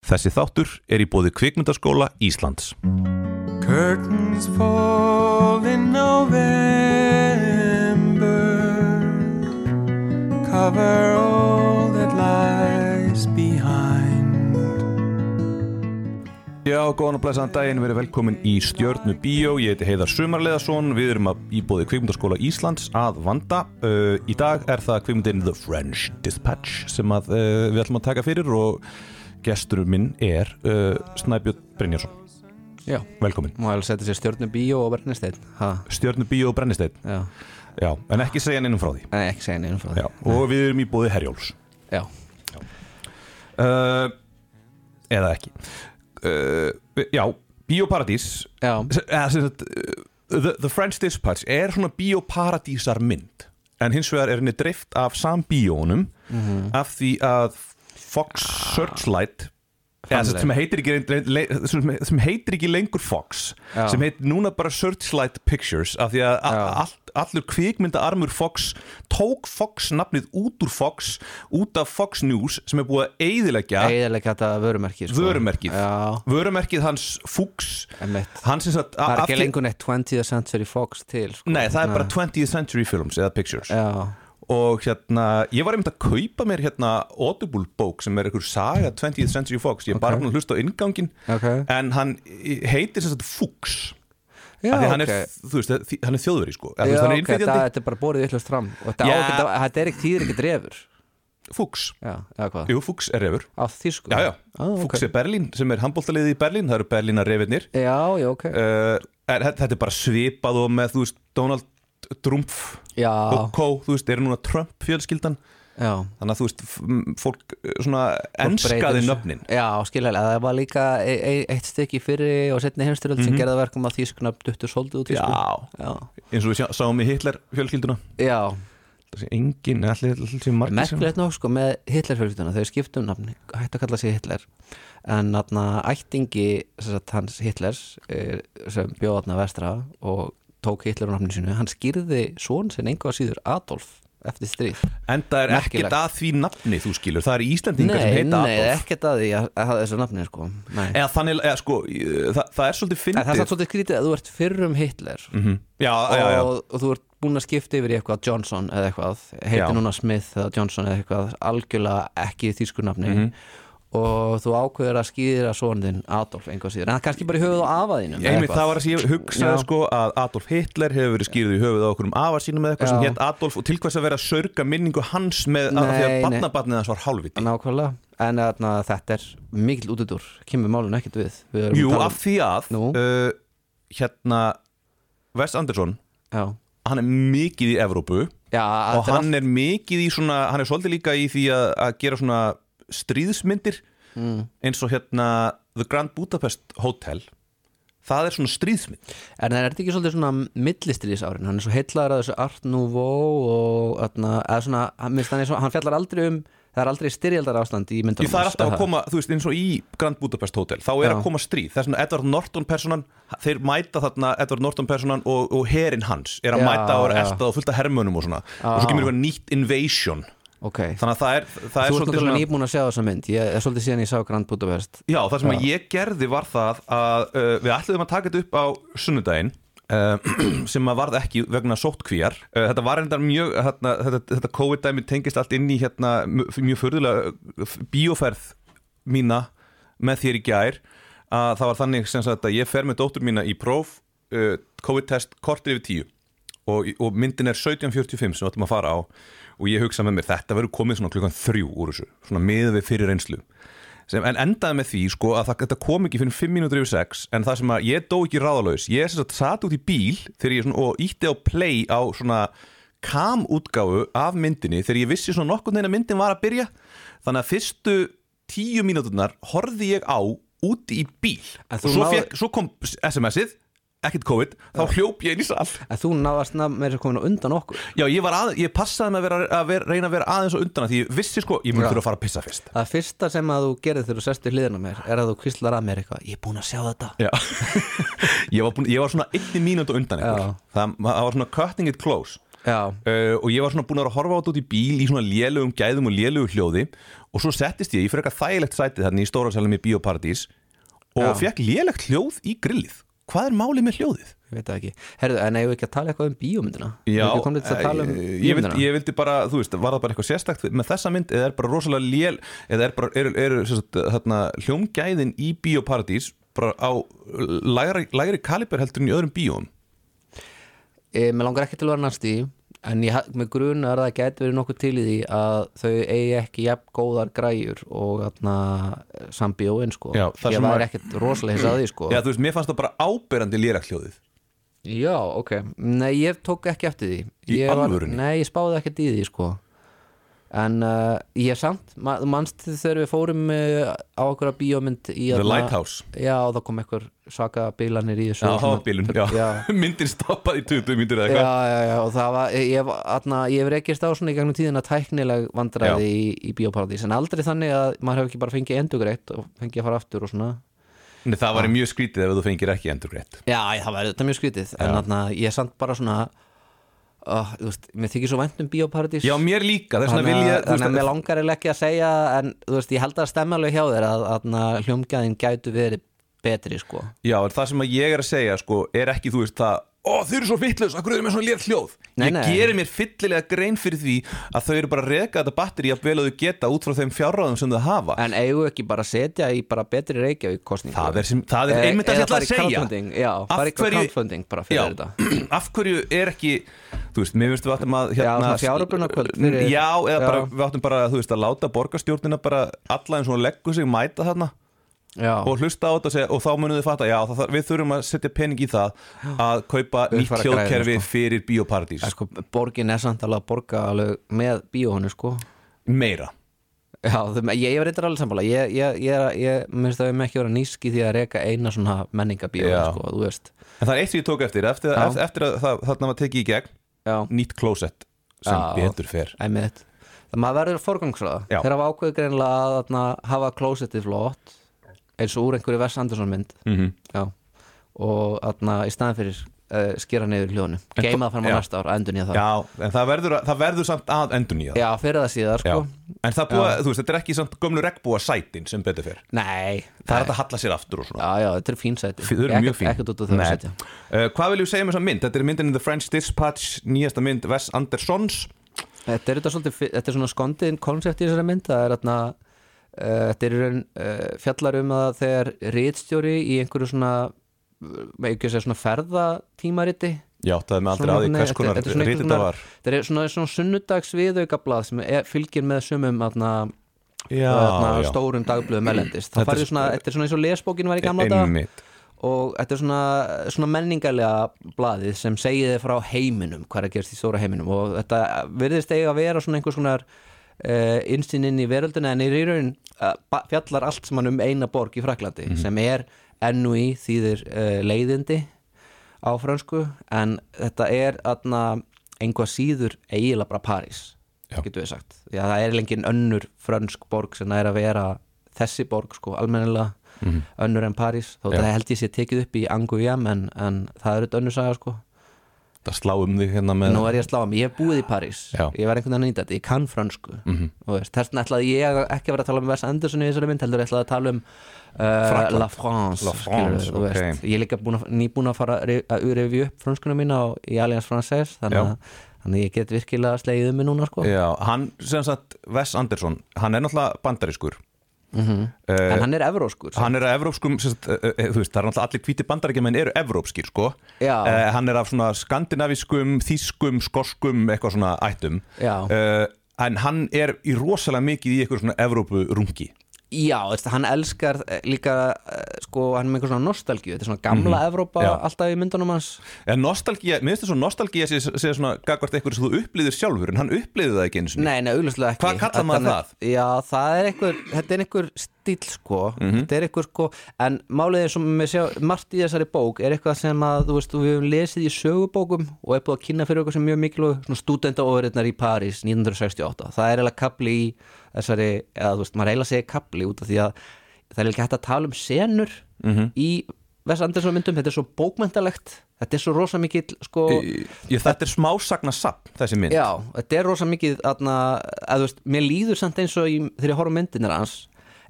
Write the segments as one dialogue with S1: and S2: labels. S1: Þessi þáttur er í bóði kvikmyndaskóla Íslands.
S2: Curtains fall in November. Cover all that lies behind.
S1: Já, góðan og blæsaðan daginn, verið velkomin í Stjörnu Bíó, ég heiti Heiðar Sumarleðarsson, við erum að íbúði kvikmyndaskóla Íslands að vanda. Uh, í dag er það kvikmyndin The French Dispatch sem að, uh, við ætlum að taka fyrir og gesturum minn er uh, Snæbjörn Brynjarsson,
S3: Já,
S1: velkomin.
S3: má alveg setja sér stjórnum bíó og brennisteinn Ha,
S1: Stjörnu Bíó og Brennisteinn,
S3: já
S1: já, en ekki segja neinum frá því.
S3: Nei, ekki segja neinum frá því
S1: Já, og við erum í bóði Herjóls.
S3: Já,
S1: Uh, eða ekki. Uh, já, Bíóparadís
S3: já,
S1: S- eða sem sagt, uh, the, the French Dispatch er svona bioparadísar mynd en hins vegar er henni drift af sambíónum
S3: Mhm.
S1: af því að Fox Searchlight eða, sem, sagt, sem, heitir ekki, reynd- reynd- sem, sem heitir ekki lengur Fox
S3: Já.
S1: sem heitir núna bara Searchlight Pictures af því að
S3: Já.
S1: all, allur kvikmyndaarmur Fox tók Fox nafnið út úr Fox út af Fox News sem er búið að eyðileggja
S3: eiginlega þetta vörumerki sko.
S1: vörumerkið
S3: Já,
S1: vörumerkið hans Fuchs
S3: emmitt
S1: hann sem sagt
S3: Það er
S1: allir-
S3: ekki lengur neitt 20th Century Fox til sko.
S1: Nei, það er bara 20th Century Films eða Pictures
S3: Já,
S1: og hérna, ég var einmitt að kaupa mér hérna Audible bók sem er einhver saga 20th Century Fox, ég er bara búin að hlusta á inngangin
S3: Ok.
S1: en hann í- heitir sem sagt Fuchs
S3: já,
S1: af því að hann
S3: ok
S1: er, þú veist, þi- hann er þjóðveri sko, eða, þú
S3: Já,
S1: veist, hann er
S3: ok, það,
S1: innflytjandi
S3: þetta er bara borðið yllust fram og þetta,
S1: Já.
S3: á, þetta, þetta er ekki þýðir ekki drefur
S1: Fuchs,
S3: Já, eða hvað,
S1: jú, Fuchs er refur
S3: á þýsku
S1: Já, já,
S3: ah,
S1: Fuchs
S3: okay.
S1: er Berlín sem er handbóltaliði í Berlín, það eru Berlínar refinir
S3: Já, já, ok
S1: uh, en þetta þetta er bara svipað og með, þú veist, Donald Trump
S3: Já,
S1: og Co, þú veist, eru núna Trump fjölskyldan
S3: já
S1: þannig að þú veist, f- m, fólk eh, svona enskaði
S3: breytir þessu.
S1: nöfnin
S3: Já, skilhælega, það var líka e e eitt stykki fyrir og setni heimstyröld sem
S1: Mhm.
S3: gerða verkum að þýskuna duttu soldið út í sko Já,
S1: eins og við sjá, sáum í Hitler fjölskylduna
S3: já
S1: þessi engin, allir, allir sem margir sem
S3: merkilegt nóg sko með Hitlerfjölskylduna þau skiptum nafni, hættu að kalla sig Hitler en þarna ættingi sem sagt, hans Hitlers eh, sem bjóð þarna vestra og tók Hitler á nafni sínu, hann skýrði svon sinn engu að síður Adolf eftir stríð
S1: en það er
S3: merkilegt.
S1: ekkert að því nafni þú skilur, það er Íslendingar sem heita
S3: nei,
S1: Adolf
S3: ekkert að því að, að hafa þessu nafni sko. Nei.
S1: eða þannig, eða sko, eh, það, það er svolítið
S3: en það er
S1: fyndið
S3: satt svolítið skrítið að þú ert fyrrum Hitler
S1: Mhm. já, já, já,
S3: Og, og þú ert búin að skipta yfir í eitthvað Johnson eða eitthvað, heiti
S1: Já.
S3: núna Smith eða Johnson eða eitthvað, algjörlega ekki í þýskunafni
S1: Mhm.
S3: og þú ákveður að skýra son þinn Adolf einhvað síður, en það er kannski bara í höfuð á afaðinu
S1: einmitt það var að ég hugsaði
S3: Já.
S1: sko að Adolf Hitler hefur verið skýrð í höfuð á okkur um afa sínum eða eitthvað sem
S3: Já.
S1: hétt Adolf og til hvers að vera að sörga minningu hans með að því að
S3: Nei, nei.
S1: barnabarnið hans var hálfviti
S3: nákvæmlega, en na, þetta er mikil útudur, kemur málun ekkert við, við erum að
S1: Jú,
S3: tala um-
S1: af því að
S3: Nú.
S1: uh, hérna Wes Anderson,
S3: já,
S1: hann er mikið í Evrópu
S3: já
S1: og
S3: þetta er
S1: hann er mikið í svona, hann er svolítið líka í því að, að gera svona stríðsmyndir mm. eins og hérna The Grand Budapest Hotel það er svona stríðsmynd
S3: En það er þetta ekki svolítið svona millistrís árin hann er svo heillar að þessu Art Nouveau og öðna, eða svona, hann, minnst hann, er svo, hann fjallar aldrei um það er aldrei styrjaldar ástand í myndunum
S1: Því það er
S3: hans,
S1: alltaf að
S3: eða?
S1: koma, þú veist, eins og í Grand Budapest Hotel, þá er
S3: Já.
S1: að koma stríð það er svona Edward Norton personan, þeir mæta þarna Edward Norton personan og, og herin hans er að
S3: Já,
S1: mæta og er
S3: já.
S1: eltað og fullt af hermönum og svona, og svo kemur eitthvað nýtt invasion,
S3: Ok,
S1: þannig að það er það er
S3: þú ert
S1: svolítið
S3: náttúrulega
S1: svona
S3: nýbúin að sjá þessa mynd ég er svolítið síðan ég sá Grand Budapest
S1: Já, það sem að ég gerði var það að uh, við ætluðum að taka þetta upp á sunnudaginn uh, sem að varð ekki vegna sóttkvíjar uh, þetta var reyndar mjög hérna, þetta, þetta COVID-dæmi tengist allt inn í hérna, mjög mjög furðulega uh, bíóferð mína með þér í gær að það var þannig sem sagt að ég fer með dóttur mína í próf uh, COVID-test kortir yfir tíu og, og myndin er 1745 sem við ætlum að fara á og ég hugsa með mér þetta verður komið svona klukkan þrjú úr þessu svona miðið við fyrir reynslu sem, en endaði með því sko að það, þetta kom ekki fyrir 5 mínútur yfir 6 en það sem að ég dó ekki ráðalaus ég sem sagt satt út í bíl þegar ég svona, og ítti á play á svona kam útgáfu af myndinni þegar ég vissi svona nokkurn veginn að myndin var að byrja þannig að fyrstu 10 mínúturnar horfði ég á úti í bíl
S3: En
S1: og
S3: þú
S1: svo,
S3: náði-
S1: fékk, svo kom SMS-ið ekkert COVID, þá hljóp ég inn í sall
S3: að þú náðast nafn með þessu komin á undan okkur
S1: Já, ég, var að, ég passaði með að, vera, að vera, reyna að vera aðeins og undan að því ég vissi sko, ég mun
S3: Já.
S1: þurfa að fara að pissa fyrst
S3: Það fyrsta sem að þú gerir þegar þú sest í hliðina á mér er að þú kvíslar að mér eitthvað, ég er búin að sjá þetta
S1: Já ég var, búin, ég var svona einni mínútu á undan ykkur
S3: Já.
S1: það, það var svona cutting it close
S3: Já.
S1: uh, og ég var svona búin að vera að horfa á þetta út í bíl í svona lélugum gæðum og lélugu hljóði og svo settist ég, ég fyrir eitthvað þægilegt sætið þarna í stóra salum í Bíóparadís og
S3: Já.
S1: fekk lélegt hljóð í grillið hvað er málið með hljóðið?
S3: ég veit það ekki Herðu, en eigum við ekki að tala eitthvað um bíómyndina
S1: Já,
S3: Erum við ekki komnir til að tala um
S1: eh, ég, vildi,
S3: bíómyndina
S1: ég vildi bara, þú veist, var það bara eitthvað sérstakt með þessa mynd eða er bara rosalega lél eða er bara, eru er, sagt, þarna, hljómgæðin í bíóparadís bara á lægri, lægri kaliber heldur en í öðrum bíóm
S3: ég... Mér Eh, langar ekki til að vera næst í En ég, með grunar að það gæti verið nokkuð til í því að þau eigi ekki jafn góðar græjur og þarna sambíóin sko
S1: Já, það
S3: Ég
S1: sem
S3: var
S1: að-
S3: ekkert rosalega hins að því sko
S1: Já, þú veist, mér fannst það bara áberandi lélegt hljóðið
S3: Já, ok Nei, ég tók ekki eftir því
S1: Í
S3: Ég var-
S1: alvörunni?
S3: Nei, ég spáði ekkert í því sko En uh, ég samt, ma- þú manst þegar við fórum uh, á okkur að bíómynd í
S1: The
S3: þarna-
S1: Lighthouse
S3: Já, og þá kom einhver svaka bílanir í
S1: Já,
S3: þessu og svona-
S1: hábílun, já,
S3: já.
S1: myndin stoppaði í 20 myndir eða
S3: Já,
S1: eitthvað
S3: já, já, og það var, ég, var- þarna, ég hef rekist á svona í gegnum tíðina tæknileg vandræði í, í bíóparadís en aldrei þannig að maður hefur ekki bara fengið endugreitt og fengið að fara aftur og svona
S1: Nei, það væri mjög skrítið ef þú fengir ekki endurgreitt
S3: Já, ég, það var þetta mjög skrítið en þarna, ég er samt bara svona uh, þú veist, mér þykir svo vænt um bíóparadís
S1: Já, mér líka, þess vegna
S3: Þannig
S1: vil
S3: að-
S1: ég þú
S3: þannig að
S1: veist,
S3: mér langar eiginlega ekki að segja en þú veist, ég held að það stemma alveg hjá þér að, að, að hljómgæðin gætu verið betri sko.
S1: Já, en það sem að ég er að segja, sko, er ekki, þú veist, það Ó, þau eru svo vittlaus, akkur eru með svona létt hljóð
S3: Nei,
S1: Ég
S3: nei.
S1: gerir mér fyllilega grein fyrir því að þau eru bara að reka þetta batteri að vel að þau geta út frá þeim fjárráðum sem þau hafa
S3: en eigum við ekki bara að setja í bara betri Reykjavík kostningu
S1: Það er, sem, það
S3: eh,
S1: er einmitt að ég ætla að segja
S3: já,
S1: Af
S3: bara eitthvað
S1: hverju-
S3: crowdfunding bara fyrir
S1: Já,
S3: þetta
S1: af hverju er ekki þú veist, mér finnst við áttum að hérna,
S3: svona fjáröflunarkvöld fyrir-
S1: já, eða
S3: Já.
S1: bara, við áttum bara, þú veist, að láta borgarstjórnina bara alla eins og hún leggur sig mæta þarna
S3: já,
S1: og hlusta á þetta og, segja, og þá munum við fatta já, það, þarf- við þurfum að setja pening í það að kaupa
S3: Við
S1: nýtt
S3: fara að græða,
S1: hljóðkerfi fyrir bioparadís
S3: en sko, borgin er samt alveg að borga alveg með bíóhunu sko
S1: meira
S3: já, þau- ég ég var reyndar alveg sammála ég, ég, ég, er- ég minnst að við með ekki vera nýski því að reka eina svona menningabíóhunu
S1: Já.
S3: sko, þú veist
S1: en það er eitt sem ég tók eftir eftir,
S3: Já.
S1: eftir, eftir að það, þarna var tekið í gegn
S3: já,
S1: nýtt klósett sem
S3: Já.
S1: betur fer
S3: æmið það maður verður forgangsraða
S1: Já.
S3: þegar hafa ákveðu greinlega að þarna, hafa klósettið flott eins og úr einhverju Vess Andersson mynd
S1: Mhm.
S3: já, og þarna, í staðan fyrir uh, skera niður hljóðinu geima það fram á
S1: Já.
S3: næsta ár, endur nýja það
S1: já, en það verður, að- það verður samt að endur nýja
S3: Já, fyrir það síðar sko
S1: en það búa, þú veist, þetta er ekki samt gömlu regnbúa sætin sem betur fer
S3: Nei,
S1: það er hægt að halla sér aftur og svona
S3: Já, já, þetta er fín sæti
S1: Þau eru mjög fín
S3: Ekkert út úr þau
S1: Nei.
S3: sæti
S1: uh, Hvað viljum við segja með þessa mynd? Þetta er myndin in the French Dispatch Nýjasta mynd Wes Andersons
S3: Þetta er, þetta, svolítið, fi- þetta er svona skondiðin koncept í þessari mynd Það er þarna uh, Þetta er í raun uh, fjallar um að þegar Ritstjóri í einhverju svona með ekki að segja svona ferðatímariti
S1: Já, það er með aldrei
S3: Svona
S1: að því
S3: einhvern
S1: hvers
S3: veginn-
S1: konar
S3: þetta- þetta er svona
S1: ritið
S3: einhvern
S1: það var
S3: Þetta er svona, svona sunnudags viðaukablað sem er, fylgir með sumum atna,
S1: Já,
S3: atna,
S1: já.
S3: stórum dagblöðum erlendist
S1: Þetta
S3: Það
S1: er E-
S3: færðu svona, þetta er svona eins og lesbókin var í gamla dag
S1: Einmitt
S3: og þetta er svona, svona menningarlega blaðið sem segið þið frá heiminum hvað er að gerast í stóra heiminum og þetta virðist eiga að vera svona einhvers konar uh, insinn inn í veröldina en er í raun uh, fjallar allt sem hann um eina borg í Fraklandi sem er NUI þýðir uh, leiðindi á fransku en þetta er atna, einhvað síður eiginlega bara París
S1: Já.
S3: getur við sagt, já það er lengið önnur frönsk borg sem það er að vera þessi borg sko almennilega önnur en París, þó
S1: Mhm. Já.
S3: það held ég sé tekið upp í Anguiam en, en það er auðvitað önnur saga sko,
S1: Það slá um þig hérna með
S3: nú er ég að slá mig ég hef búið í París,
S1: Já. Mhm.
S3: ég var einhvern veginn að nýta þetta ég kann fransku, mm -hmm. og veist, þess vegna ætlaði ég ekki að vera að tala um Wes Anderson í þessari mynd, heldur ég ætlaði að tala um uh,
S1: Frakkland.
S3: La France,
S1: La
S3: skilurðu,
S1: France,
S3: þú
S1: ok.
S3: veist. ég er líka búin að, nýbúin að fara að re- að urefi upp franskuna mína á, í Allianz Française
S1: Já.
S3: þannig,
S1: Eh,
S3: að- þannig að ég get virkilega slegið um mig núna sko.
S1: Já, hann, sem sagt, Wes Anderson Hann er náttúrulega bandarískur Eh,
S3: en hann er evróskur
S1: Hann er af evrópskum, sem sagt, uh, uh, þú veist, það er náttúrulega allir hvíti bandaríkja menn eru evrópskir, sko
S3: Já.
S1: Eh, Hann er af svona skandinaviskum, þýskum, skoskum, eitthvað svona ættum
S3: Já.
S1: Eh, En hann er í rosalega mikið í eitthvað svona evrópurungi
S3: Já, veist, hann elskar eh, líka eh, sko, hann er með einhver svona nostalgíu þetta er svona gamla Evrópa
S1: Mhm. Já.
S3: alltaf í myndunum hans
S1: En Eh, nostalgía, mér finnst það svo nostalgía sé, sé svona gagvart eitthvað sem þú upplýðir sjálfur en hann upplýði það ekki einu sinni
S3: Nei, nei, augljóslega ekki
S1: Hvað kallar maður
S3: Þetta er- Já, það er einhver, þetta er einhver stíl sko,
S1: Mhm.
S3: þetta er einhver sko en málið er sem við sjá, margt í þessari bók er eitthvað sem að, þú veist, við höfum lesið í sögubókum og er búið að kynna fyrir okkur sem mjög mikilvæg, svona stúdendaóðurinnar í París 1968, það er eiginlega kapli í þessari, eða þú veist, maður eiginlega segir kapli út af því að
S1: Mhm.
S3: það er ekki hægt að tala um senur í Wes Anderson myndum, þetta er svo bókmyndalegt þetta er svo rosa mikill sko,
S1: ég, þetta er smásagnasafn þessi mynd
S3: já, þetta er rosa mikill atna, að þú veist, mér líður samt eins og í, þegar ég horf myndinir hans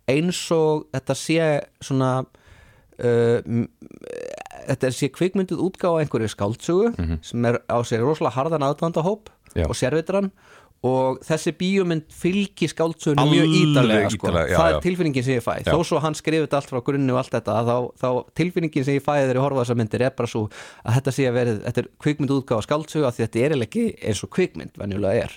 S3: eins og þetta sé svona uh, m- þetta sé kvikmyndið útgáfa einhverju skáldsögu sem er á sér rosalega harðan aðdvandahóp
S1: Mhm. Já.
S3: og sérvitran og þessi bíómynd fylgi skáldsögunum mjög
S1: Alveg
S3: ítarlega, sko.
S1: ítarlega, já,
S3: það
S1: já.
S3: er tilfinningin sem ég fæ
S1: Já.
S3: þó svo hann skrifið þetta allt frá grunni og allt þetta þá, þá tilfinningin sem ég fæði þegar ég horfa þessar myndir er bara svo að þetta sé að verið þetta er kvikmynd útgáfa skáldsögu af því þetta er eiginlega ekki eins og kvikmynd venjulega er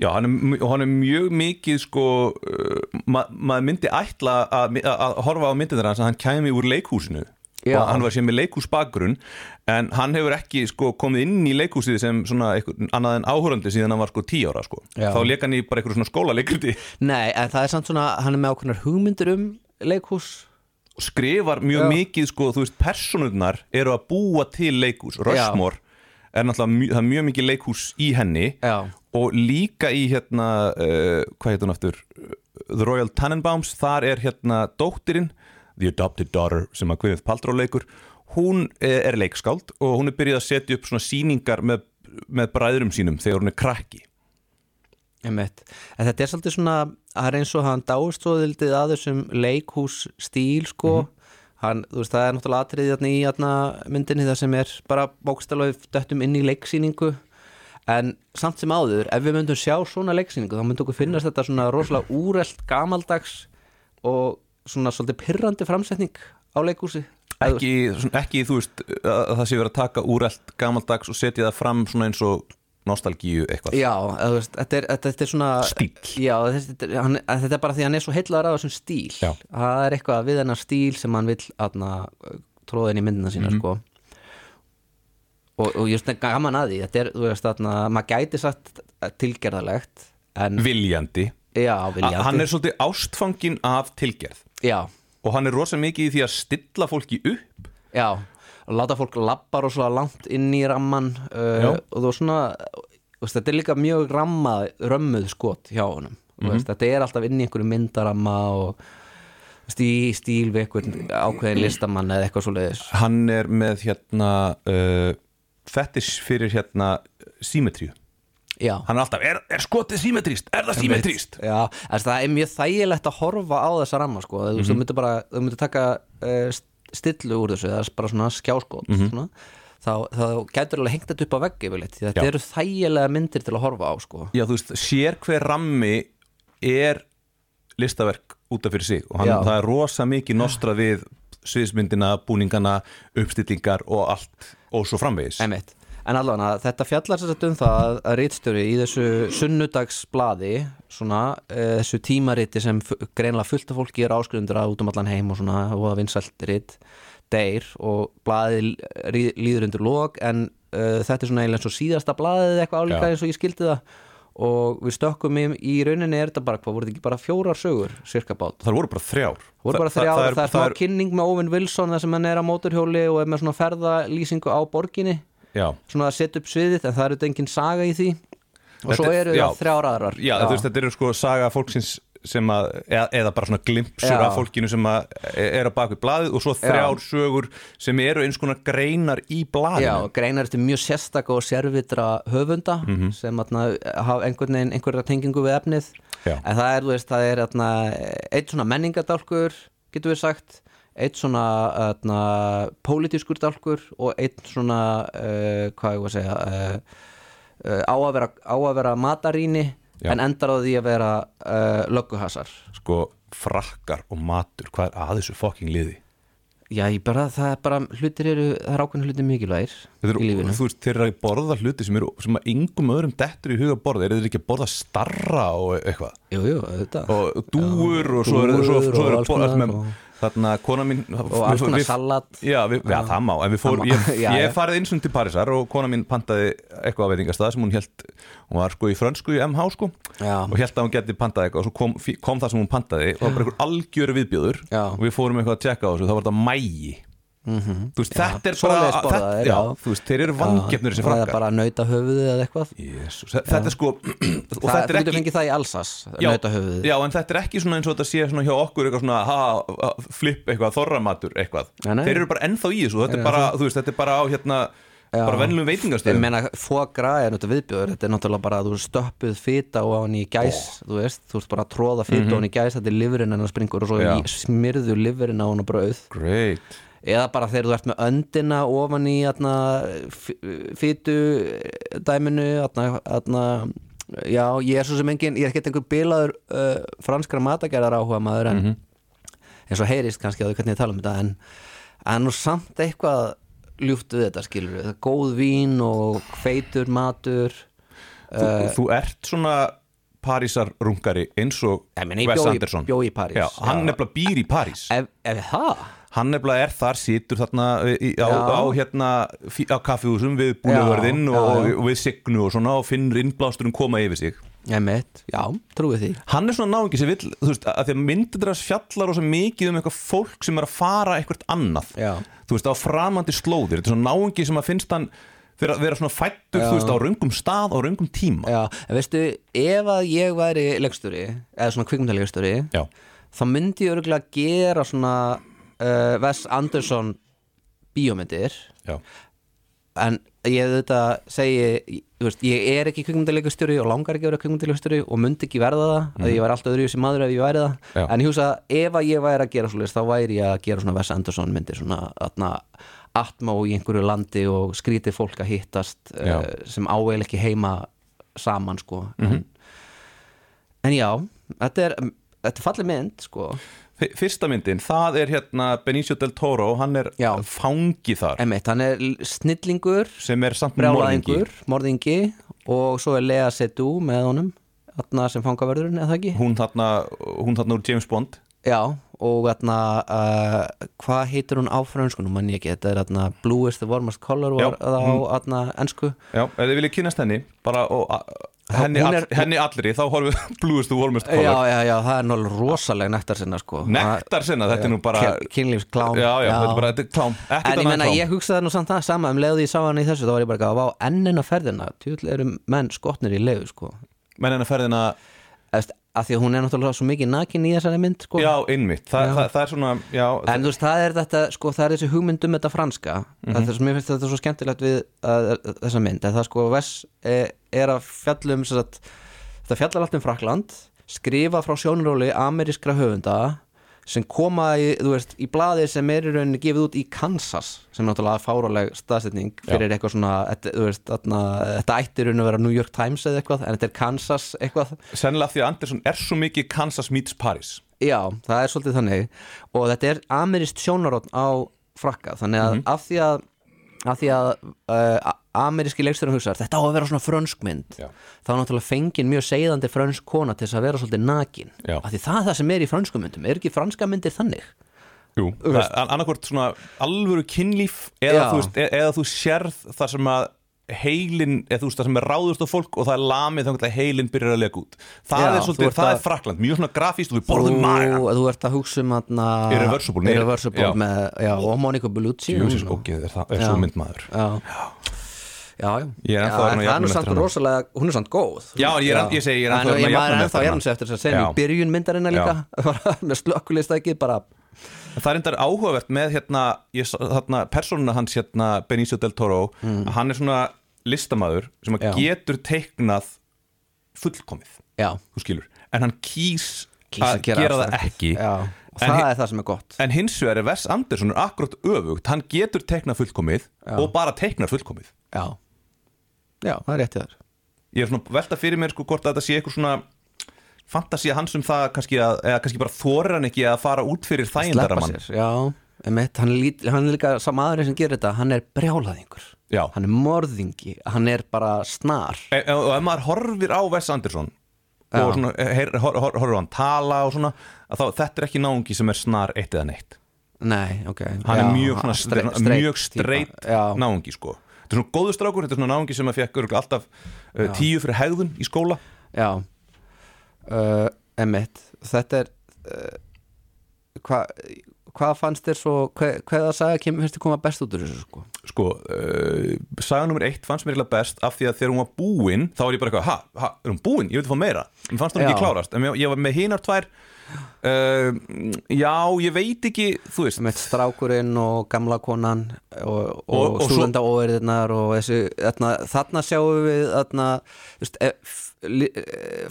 S1: Já, hann er, mj- og hann er mjög mikið sko, uh, ma maður myndi ætla að, að, að horfa á myndir hans að hann kæmi úr leikhúsinu
S3: Já.
S1: og hann var sem með leikhúsbakgrunn en hann hefur ekki sko, komið inn í leikhúsið sem svona einhver, annað en áhórandi síðan hann var sko tíu ára sko.
S3: Já.
S1: þá leik hann í bara einhverjum svona skólaleikundi
S3: Nei, en það er samt svona, hann er með ákveðnar hugmyndir um leikhús
S1: og skrifar mjög
S3: Já.
S1: mikið sko, þú veist, personurnar eru að búa til leikhús, Rushmore er náttúrulega mjög, það er mjög mikið leikhús í henni
S3: Já.
S1: og líka í hérna uh, hvað heitir hún aftur The Royal Tannenbaums, þar er hérna dóttirinn, The Adopted Daughter sem að Guðið Paldró leikur hún eh, er leikskáld og hún er byrjuð að setja upp svona sýningar með, með bræðurum sínum þegar hún er krakki
S3: Einmitt. En þetta er svolítið svona, það er eins og hann dáistóðildið að þessum leikhús stíl sko hann, þú veist, það er náttúrulega atriðið þarna í þarna myndinni það sem er bara bókstalveg döttum inn í leiksýningu en samt sem áður, ef við myndum sjá svona leiksýningu þá myndum okkur finnast þetta svona rosalega úrelt gamaldags og svona svolítið pirrandi framsetning á leikhúsi Ef-
S1: ekki, svona, ekki þú veist að að það sé verið að taka úrælt gamaldags og setja það fram svona eins og nostalgíu eitthvað
S3: Já, eða þú veist, þetta er, þetta, þetta er svona
S1: Stíll.
S3: Já, þetta, er- hann, að þetta er bara því að hann er svo heillar af þessum stíl
S1: Já.
S3: Það er eitthvað við hennar stíl sem hann vill atna, tróða inn í myndina sína
S1: Mhm.
S3: sko. og, og ég veist gaman að því Þetta er, þú veist, atna, maður gæti satt tilgerðalegt en
S1: viljandi,
S3: já,
S1: viljandi.
S3: viljandi
S1: Mm. hann er svolítið ástfangin af tilgerð
S3: Já,
S1: og hann er rosa mikið í því að stilla fólki upp
S3: já og láta fólk labba rosalega langt inn í ramman
S1: Já.
S3: uh, og þú veist, svona þú veist, þetta er líka mjög rammað, römmuð skot hjá honum
S1: Mhm.
S3: mm veist, þetta er alltaf inn í einhverju myndaramma og þú veist, í stíl við einhvern ákveðin listamann eða eitthvað svoleiðis
S1: hann er með hérna uh, fetish fyrir hérna symmetríu,
S3: já,
S1: hann er alltaf er, er skotið symmetríst, er það symmetríst
S3: já en það er mjög þægilegt að horfa á þessa ramma sko. mm
S1: Mhm.
S3: -hmm. þú myndir bara, þú myndir taka uh, stillu úr þessu, það er bara svona skjáskot
S1: Mhm.
S3: svona þá, þá gætur alveg hengt þetta upp á veggi yfirleitt, því þetta
S1: Já.
S3: eru þægilega myndir til að horfa á sko.
S1: já þú veist, sér hver rammi er listaverk út af fyrir sig og hann,
S3: Já.
S1: það er rosa mikið nostra við sviðismyndina, búningana uppstillingar og allt og svo framvegis
S3: Einmitt. En allavega, þetta fjallar sér um það að rítstjóri í þessu sunnudagsblaði svona, eh, þessu tímariti sem fu- greinlega fullt af fólki er áskrundur að út um allan heim og svona, og að vinsælt rit deyr og blaði líður undir lok en uh, þetta er svona eiginlega eins og síðasta blaðið eitthvað álíka
S1: Já.
S3: eins og ég skildi það og við stökkum í, í rauninni er þetta bara hvað, voru þetta ekki bara fjórar sögur cirka bát?
S1: það voru bara þrjár
S3: Það voru bara
S1: Þa-
S3: þrjá, það,
S1: það
S3: er smá kynning með Owen Wilson þar sem hann er á móturhjóli og er með svona ferðalýsingu á borginni
S1: já,
S3: svona að setja upp sviðið en það eru þetta engin saga í því og
S1: Þetta
S3: svo
S1: er-
S3: eru
S1: já.
S3: það þrjár aðrar
S1: já, Þú veist, þetta eru sko saga fólksins sem að, eða, eða bara svona glimpsur
S3: Já.
S1: af fólkinu sem að e, er á baku blaðið og svo þrjár sögur sem eru eins konar greinar í blaðinu
S3: Já, greinar eftir mjög sérstaka og sérvitra höfunda
S1: Mhm.
S3: sem atna, hafa einhvern veginn einhverja tengingu við efnið
S1: Já.
S3: en það er, þú veist, það er atna, eitt svona menningadálkur, getur við sagt eitt svona atna, pólitískur dálkur og eitt svona uh, hvað ég var að segja uh, uh, á, að vera, á að vera matarýni
S1: Já.
S3: en endar á því að vera uh, lögguhasar
S1: sko frakkar og matur hvað er að þessu fokking liði
S3: Já, ég bara, það er bara, hlutir eru, það er ákveðin hlutir mikilvægir
S1: Þetta
S3: í
S1: eru,
S3: lífinu.
S1: þú veist, þeir eru að borða hluti sem, eru, sem að yngum öðrum dettur í huga borða eru þeir ekki að borða starra og eitthvað
S3: Jú, jú, auðvitað.
S1: og dúur og svo eru
S3: dúfur
S1: svo, svo
S3: og
S1: eru
S3: alls
S1: að borða allt
S3: konar
S1: með
S3: og-
S1: þarna kona mín
S3: Og alls konar salat.
S1: já, við, já, það má, en við fór
S3: Ah. Það má.
S1: ég,
S3: Já,
S1: ég
S3: já.
S1: farið einsum til Parísar og kona mín pantaði eitthvað að veitingastað sem hún held hún var sko í frönsku í MH sko
S3: Já.
S1: og held að hún geti pantað eitthvað og svo kom, fí- kom það sem hún pantaði og það var bara einhver algjöru viðbjöður
S3: Já. Mhm.
S1: og við fórum eitthvað að tjekka á þessu, þá var þetta mægi Þú veist, þetta er bara
S3: svoleiðis borða
S1: þetta-
S3: þeir,
S1: já,
S3: já.
S1: þú veist, þeir eru vangefnir þessi frakkar
S3: eða bara nauta höfuðið eða eitthvað
S1: Jesús, þetta er sko og
S3: það,
S1: þetta
S3: þú
S1: er
S3: getur
S1: ekki
S3: fengið það í Alsas
S1: Já,
S3: nauta höfuðið
S1: já, en þetta er ekki svona eins og þetta sé svona hjá okkur eitthvað svona ha, ha, flip eitthvað, þorramatur eitthvað
S3: Nei, nei.
S1: Þeir eru bara ennþá í þessu, þetta er bara, þú veist, þetta er bara á hérna
S3: Já.
S1: bara venlum
S3: ég
S1: veitingastöðum
S3: meina fógra er náttúrulega viðbjóður þetta er náttúrulega bara að þú stöppuð fita á hann í gæs
S1: Oh.
S3: þú veist, þú veist bara að tróða fita á hann í gæs þetta er livurinn hennar springur og svo
S1: Mhm. Já.
S3: í- smirðu livurinn á hann á brauð
S1: Great
S3: eða bara þegar þú ert með öndina ofan í atna, fytu eh, dæminu atna, atna, já, ég er svo sem engin ég er ekkert einhver bilaður uh, franskra matagerðar áhuga maður en eins og heyrist kannski á því hvernig ég tala um þetta en, en nú samt eitthvað ljúft við þetta skilur við, góð vín og feitur matur
S1: þú,
S3: Eh.
S1: þú ert svona Parísar rungari eins og
S3: Ég meina, ég
S1: Wes
S3: bjó í-
S1: Anderson
S3: bjó í París.
S1: já, Hann
S3: Já. Eh.
S1: nefnilega býr í París
S3: ef, ef það
S1: Hann nefnilega er þar, situr þarna eh, í, á,
S3: Já.
S1: á, hérna, fí- á kaffihúsum við
S3: Já,
S1: búlöfverðinn
S3: já,
S1: og, og,
S3: já.
S1: við signu og svona og finnur innblásturinn koma yfir sig
S3: Emitt, já, trúið því
S1: Hann er svona náðingi sem vill, þú veist, að því að myndir þess fjallar og svo mikið um eitthvað fólk sem er að fara eitthvað annað
S3: Já.
S1: Þú veist, á framandi slóðir, þetta er svona náðingi sem að finnst hann vera, vera svona fættur, þú veist, á raungum stað og raungum tíma
S3: Já, en veistu, ef að ég væri leikstjóri, eða svona kvikmyndaleikstjóri
S1: Já.
S3: þá myndi ég örgulega gera svona uh, Wes Anderson bíómyndir
S1: Já.
S3: en ég þetta segi, þú veist, ég er ekki kvikmyndaleikstjóri og langar ekki að vera kvikmyndaleikstjóri og myndi ekki verða það, mm. að ég væri alltaf öðru sem maður ef ég væri það,
S1: Mhm. Já.
S3: en ég hugsa að ef að ég væri að gera svoleiðis, þá væri ég að gera svona Wes Anderson myndir, svona atna, atmó í einhverju landi og skrítið fólk að hittast
S1: Já. Mhm.
S3: uh, sem áveil ekki heima saman sko en, en já, þetta er þetta er fallið mynd sko
S1: F- Fyrsta myndin, það er hérna Benicio del Toro, hann er
S3: Já.
S1: fangi þar
S3: Einmitt, hann er l- snillingur,
S1: sem er samt morðingi
S3: brjálæðingur morðingi og svo er Lea Seydoux með honum þarna sem fangaverðurinn eða það ekki
S1: hún þarna, hún þarna úr James Bond
S3: já, og þarna uh, hvað heitir hún á frönskunum mann ég ekki, þetta er þarna Bluest the Warmest Color
S1: Já,
S3: var það á þarna ensku
S1: Já, ef þið viljið kynast henni bara, og, a, henni,
S3: hún
S1: all,
S3: er-
S1: henni allri, þá horfum við blúðustu vormest
S3: já,
S1: kollar
S3: já, já, það er náttúrulega rosaleg nektar sinna sko
S1: Nektar sinna, þetta er nú bara
S3: Kyn- kynlífsklám
S1: Já, já, þetta er bara, þetta er klám
S3: En
S1: Ekkert
S3: ég
S1: annað
S3: menna,
S1: en klám
S3: ég hugsaði nú samt það sama um leiðu ég sá hann í þessu, þá var ég bara að vá ennin á ferðina, tjúll eru menn skotnir í leiðu sko,
S1: Menn hennar ferðina,
S3: Efst, að því að hún er náttúrulega svo mikið nakin í þessari mynd sko
S1: já, innmitt Þa, Það, það er svona, já
S3: En þú veist, það er þetta, sko, það er þessi hugmynd um þetta franska það er, Mér finnst þetta svo skemmtilegt við að, þessa mynd en það sko, Vess er, er að fjallum sagt, þetta fjallar allt um Frakland skrifa frá sjónuróli amerískra höfunda sem koma í, þú veist, í blaði sem er í rauninni gefið út í Kansas sem er náttúrulega fáráleg staðsetning fyrir eitthvað svona, þetta, þú veist, þarna, þetta ætti í rauninni að vera New York Times eða eitthvað en þetta er Kansas eitthvað
S1: sennilega því að Andersson er svo mikið Kansas meets Paris
S3: Já, það er svolítið þannig og þetta er amirist sjónarótt á frakka þannig
S1: Mhm.
S3: að af því að af því að uh, ameríski leiksturinn hugsar þetta á að vera svona frönskmynd
S1: Já.
S3: þá er náttúrulega fengin mjög seiðandi frönsk kona til þess að vera svolítið nakin
S1: Já.
S3: af því það er það sem er í frönskum myndum er ekki franska myndir þannig
S1: Jú, annarkvort svona alvöru kynlíf eða
S3: Já.
S1: þú, veist, e eða þú sérð þar sem að heilin, eða þú veist það sem er ráðust á fólk og það er lamið þannig að heilin byrjar að lega út það
S3: Já,
S1: er
S3: þú
S1: svolítið,
S3: ert
S1: það
S3: að-
S1: er frakland mjög svona grafíst og við borðum maga
S3: Þú, þú ert að hugsa um atna,
S1: Irreversible, nei.
S3: irreversible
S1: Já.
S3: Með, já, og Monica Bellucci
S1: Jú, þessi skókið er, það- er svo
S3: Já.
S1: mynd maður
S3: Já, já, já.
S1: Ég er ennþá
S3: já
S1: þarna
S3: en það er nú
S1: jafnum
S3: samt
S1: eftir hana.
S3: rosalega, hún er samt góð
S1: Já, ég er enn- ég segi, ég er ennþá
S3: En
S1: þarna
S3: ég maður
S1: jafnum eftir
S3: er ennþá
S1: hana.
S3: jafnum eftir þess að segja
S1: Já.
S3: í byrjun myndarina líka bara með slökkulistæki bara
S1: En Það er endar áhugavert með hérna, ég, sá- þarna, persónuna hans hérna, Benicio del Toro að hann er svona listamaður sem að
S3: Mm. Já.
S1: getur teiknað fullkomið,
S3: já,
S1: þú skilur en hann kýs,
S3: kýs
S1: að gera, það
S3: afstætt.
S1: ekki
S3: Já, og
S1: En
S3: það
S1: hi-
S3: er það sem er gott
S1: En hins vegar er Wes Anderson er akkurat öfugt hann getur teiknað fullkomið og bara teiknað fullkomið
S3: Já, já, það er rétt í þar
S1: Ég er svona að velta fyrir mér sko hvort að þetta sé eitthvað svona fantasía hans um það kannski að, eða kannski bara þorir hann ekki að fara út fyrir þægindara
S3: Sleppa
S1: mann
S3: sér, já, emitt, hann, lít, hann er líka sá maðurinn sem gerir þetta, hann er brjálaðingur
S1: Já.
S3: hann er morðingi, hann er bara snar
S1: E- e- og ef maður horfir á Wes Anderson
S3: Já.
S1: og svona, eh, heyr, hor, hor, horfir á hann tala og svona, að þá, þetta er ekki náungi sem er snar eitt eða neitt
S3: Nei, ok
S1: hann
S3: já,
S1: er mjög, svona,
S3: straight-
S1: streit,
S3: straight
S1: mjög
S3: típa.
S1: streit
S3: Já.
S1: náungi sko þetta er svona góðu strákur, þetta er svona náungi sem að fekk örugglega alltaf uh, tíu fyrir hegðun í skóla
S3: Já uh, Emmett, þetta er uh, hva, hvað fannst þér svo hvað, hvað það sagði að kemur fyrst að koma best út úr þessu sko?
S1: sko, uh, saga nummer eitt fannst mér eiginlega best af því að þegar hún var búin þá var ég bara eitthvað, ha, ha, er hún búin? Ég veit að fá meira mér fannst hún
S3: Já.
S1: ekki klárast, en ég, ég var með hinar tvær uh, já, ég veit ekki þú veist,
S3: með strákurinn og gamla konan og, og,
S1: Og- og
S3: og
S1: svo-
S3: stúlenda óeirðirnar og þessu, þarna, þarna sjáum við þarna, just, e,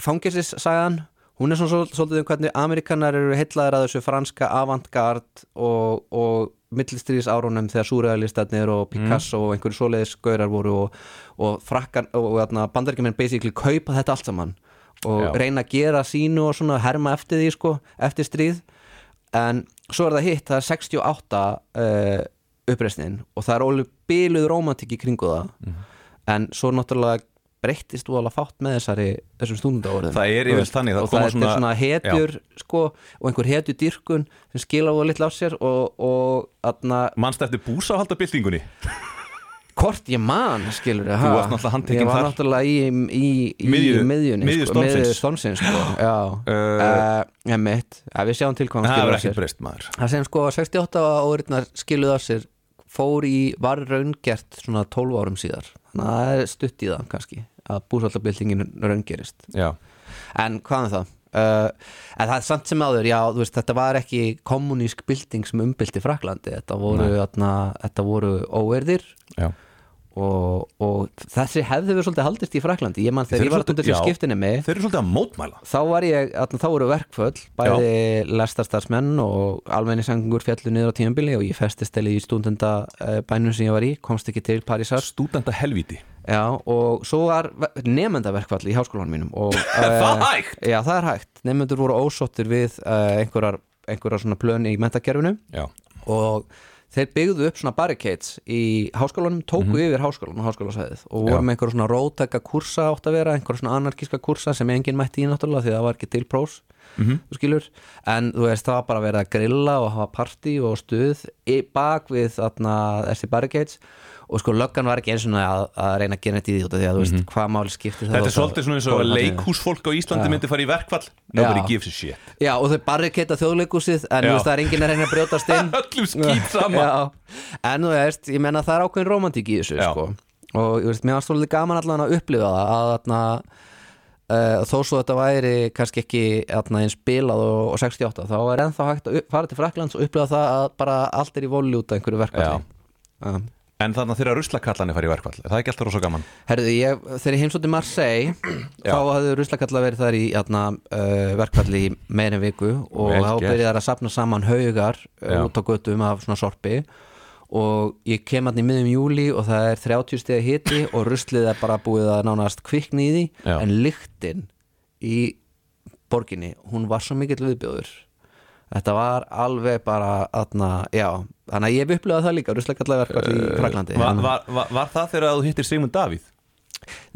S3: fangisissagan eh, hún er svona svol- svolítið um hvernig Amerikanar eru heitlaðir að þessu franska avantgard og, og millistrís árunum þegar súræðalistarnir
S1: Mhm.
S3: og Picasso og einhverju svoleiðis gaurar voru og, og, frakkar, og, og þarna, bandaríkjumenn basically kaupa þetta allt saman og
S1: Já.
S3: reyna að gera sínu og svona herma eftir því sko, eftir stríð en svo er það hitt, það er 68 uh, uppreisnin og það er ólega byluð rómantik í kringu það
S1: Mhm.
S3: en svo náttúrulega breyttist þú alveg fátt með þessari þessum stundundávörðum
S1: Það er yfirleitt þannig, það
S3: og
S1: koma
S3: það er
S1: svona-
S3: svona, svona hetjur sko, og einhver hetju dyrkun sem skila þú litla af sér og, og atna,
S1: mannst eftir búsáhaldabildingunni
S3: hvort ég man skilur
S1: Þú varst náttúrulega handtekinn
S3: ég var
S1: þar.
S3: náttúrulega í, í, í
S1: Miðju-
S3: miðjunni
S1: miðju
S3: sko,
S1: stormsins.
S3: miðju stormsins sko. já,
S1: Uh,
S3: uh, emitt, ja, við sjáum til hvað
S1: það
S3: hann skilur
S1: verður
S3: af sér
S1: ekki breyst maður
S3: það sem sko 68 áriðnar skiluð af sér fór í var raungert svona 12 árum síðar þannig að það er stutt í það kannski að búsvallabildingin raungerist
S1: já,
S3: en hvað er það? Uh, en það er samt sem áður, já, þú veist, þetta var ekki kommunísk bilding sem umbylti Fraklandi, þetta voru, atna, þetta voru óerðir
S1: já
S3: og, og þessi hefði við svolítið haldist í Fraklandi, ég man þegar ég var að tundur til
S1: já,
S3: skiptinni mig
S1: þeir eru svolítið að mótmæla
S3: þá var ég, þannig, þá voru verkföll bæði lestarstarfsmenn og almenningsengur fjallu niður á tímabili og ég festist til í stúndenda eh, bænum sem ég var í, komst ekki til Parísar
S1: stúdenda helviti
S3: já, og svo var nefndaverkfall í háskólanum mínum og,
S1: er
S3: eh,
S1: það hægt?
S3: já, það er hægt, nefndur voru ósóttir við uh, einhverjar, einhverjar svona plön í mentakerfinu
S1: já,
S3: og þeir byggðu upp svona barricades í háskólanum, tóku yfir háskólan og háskólasæðið og voru
S1: Mhm. Já.
S3: með einhverja svona rótaka kursa átt að vera, einhverja svona anarkíska kursa sem enginn mætti í náttúrulega því það var ekki til prós
S1: Mhm.
S3: þú skilur, en þú veist það var bara verið að grilla og hafa partí og stuð í bak við þarna þessi barricades og sko löggan var ekki eins og að, að reyna að gera þetta í því út af því að þú veist hvað máli skipti það
S1: Mhm. þetta er
S3: þótt að-
S1: svolítið svona eins og
S3: þótt að-
S1: leikhúsfólk á Íslandi myndi fara í verkfall nobody
S3: Já.
S1: gives a shit
S3: Já, og þau barriketa þjóðleikúsið en
S1: Já.
S3: þú veist það er enginn að reyna að brjótast inn
S1: Öllum skít sama.
S3: Já, en þú veist, ég menna það er ákveðin romantík í þessu
S1: Já.
S3: sko. og ég veist, mér var svolítið gaman allan að upplifa það að þarna Uh, þó svo þetta væri kannski ekki atna, eins bilað og, og 68 þá er ennþá hægt að upp, fara til Fraklands og upplifa það að bara allt er í voli út af einhverju
S1: Já.
S3: verkvalli um,
S1: en þannig að þeirra ruslakallanir fara í verkfall er það ekki alltaf rosa gaman?
S3: Herðu, ég, þegar ég heimsótti Marseille
S1: Já.
S3: þá hafði Ruslakalla verið þar í atna, uh, verkfalli í meira en viku og
S1: Vel
S3: þá
S1: gert.
S3: byrjaði þar að safna saman haugar
S1: Já.
S3: uh, út á göttum af svona sorpi og ég kem hann í miðjum júli og það er 30 stiga hiti og ruslið er bara búið að nánast kvikni í því
S1: Já.
S3: en lyktin í borginni, hún var svo mikill viðbjóður þetta var alveg bara atna, já, þannig að ég hef upplifað það líka Ruslakalla verkfalli
S1: Eh,
S3: í Fraklandi
S1: var, var, var, var það þegar þú hittir Sigmund Davíð?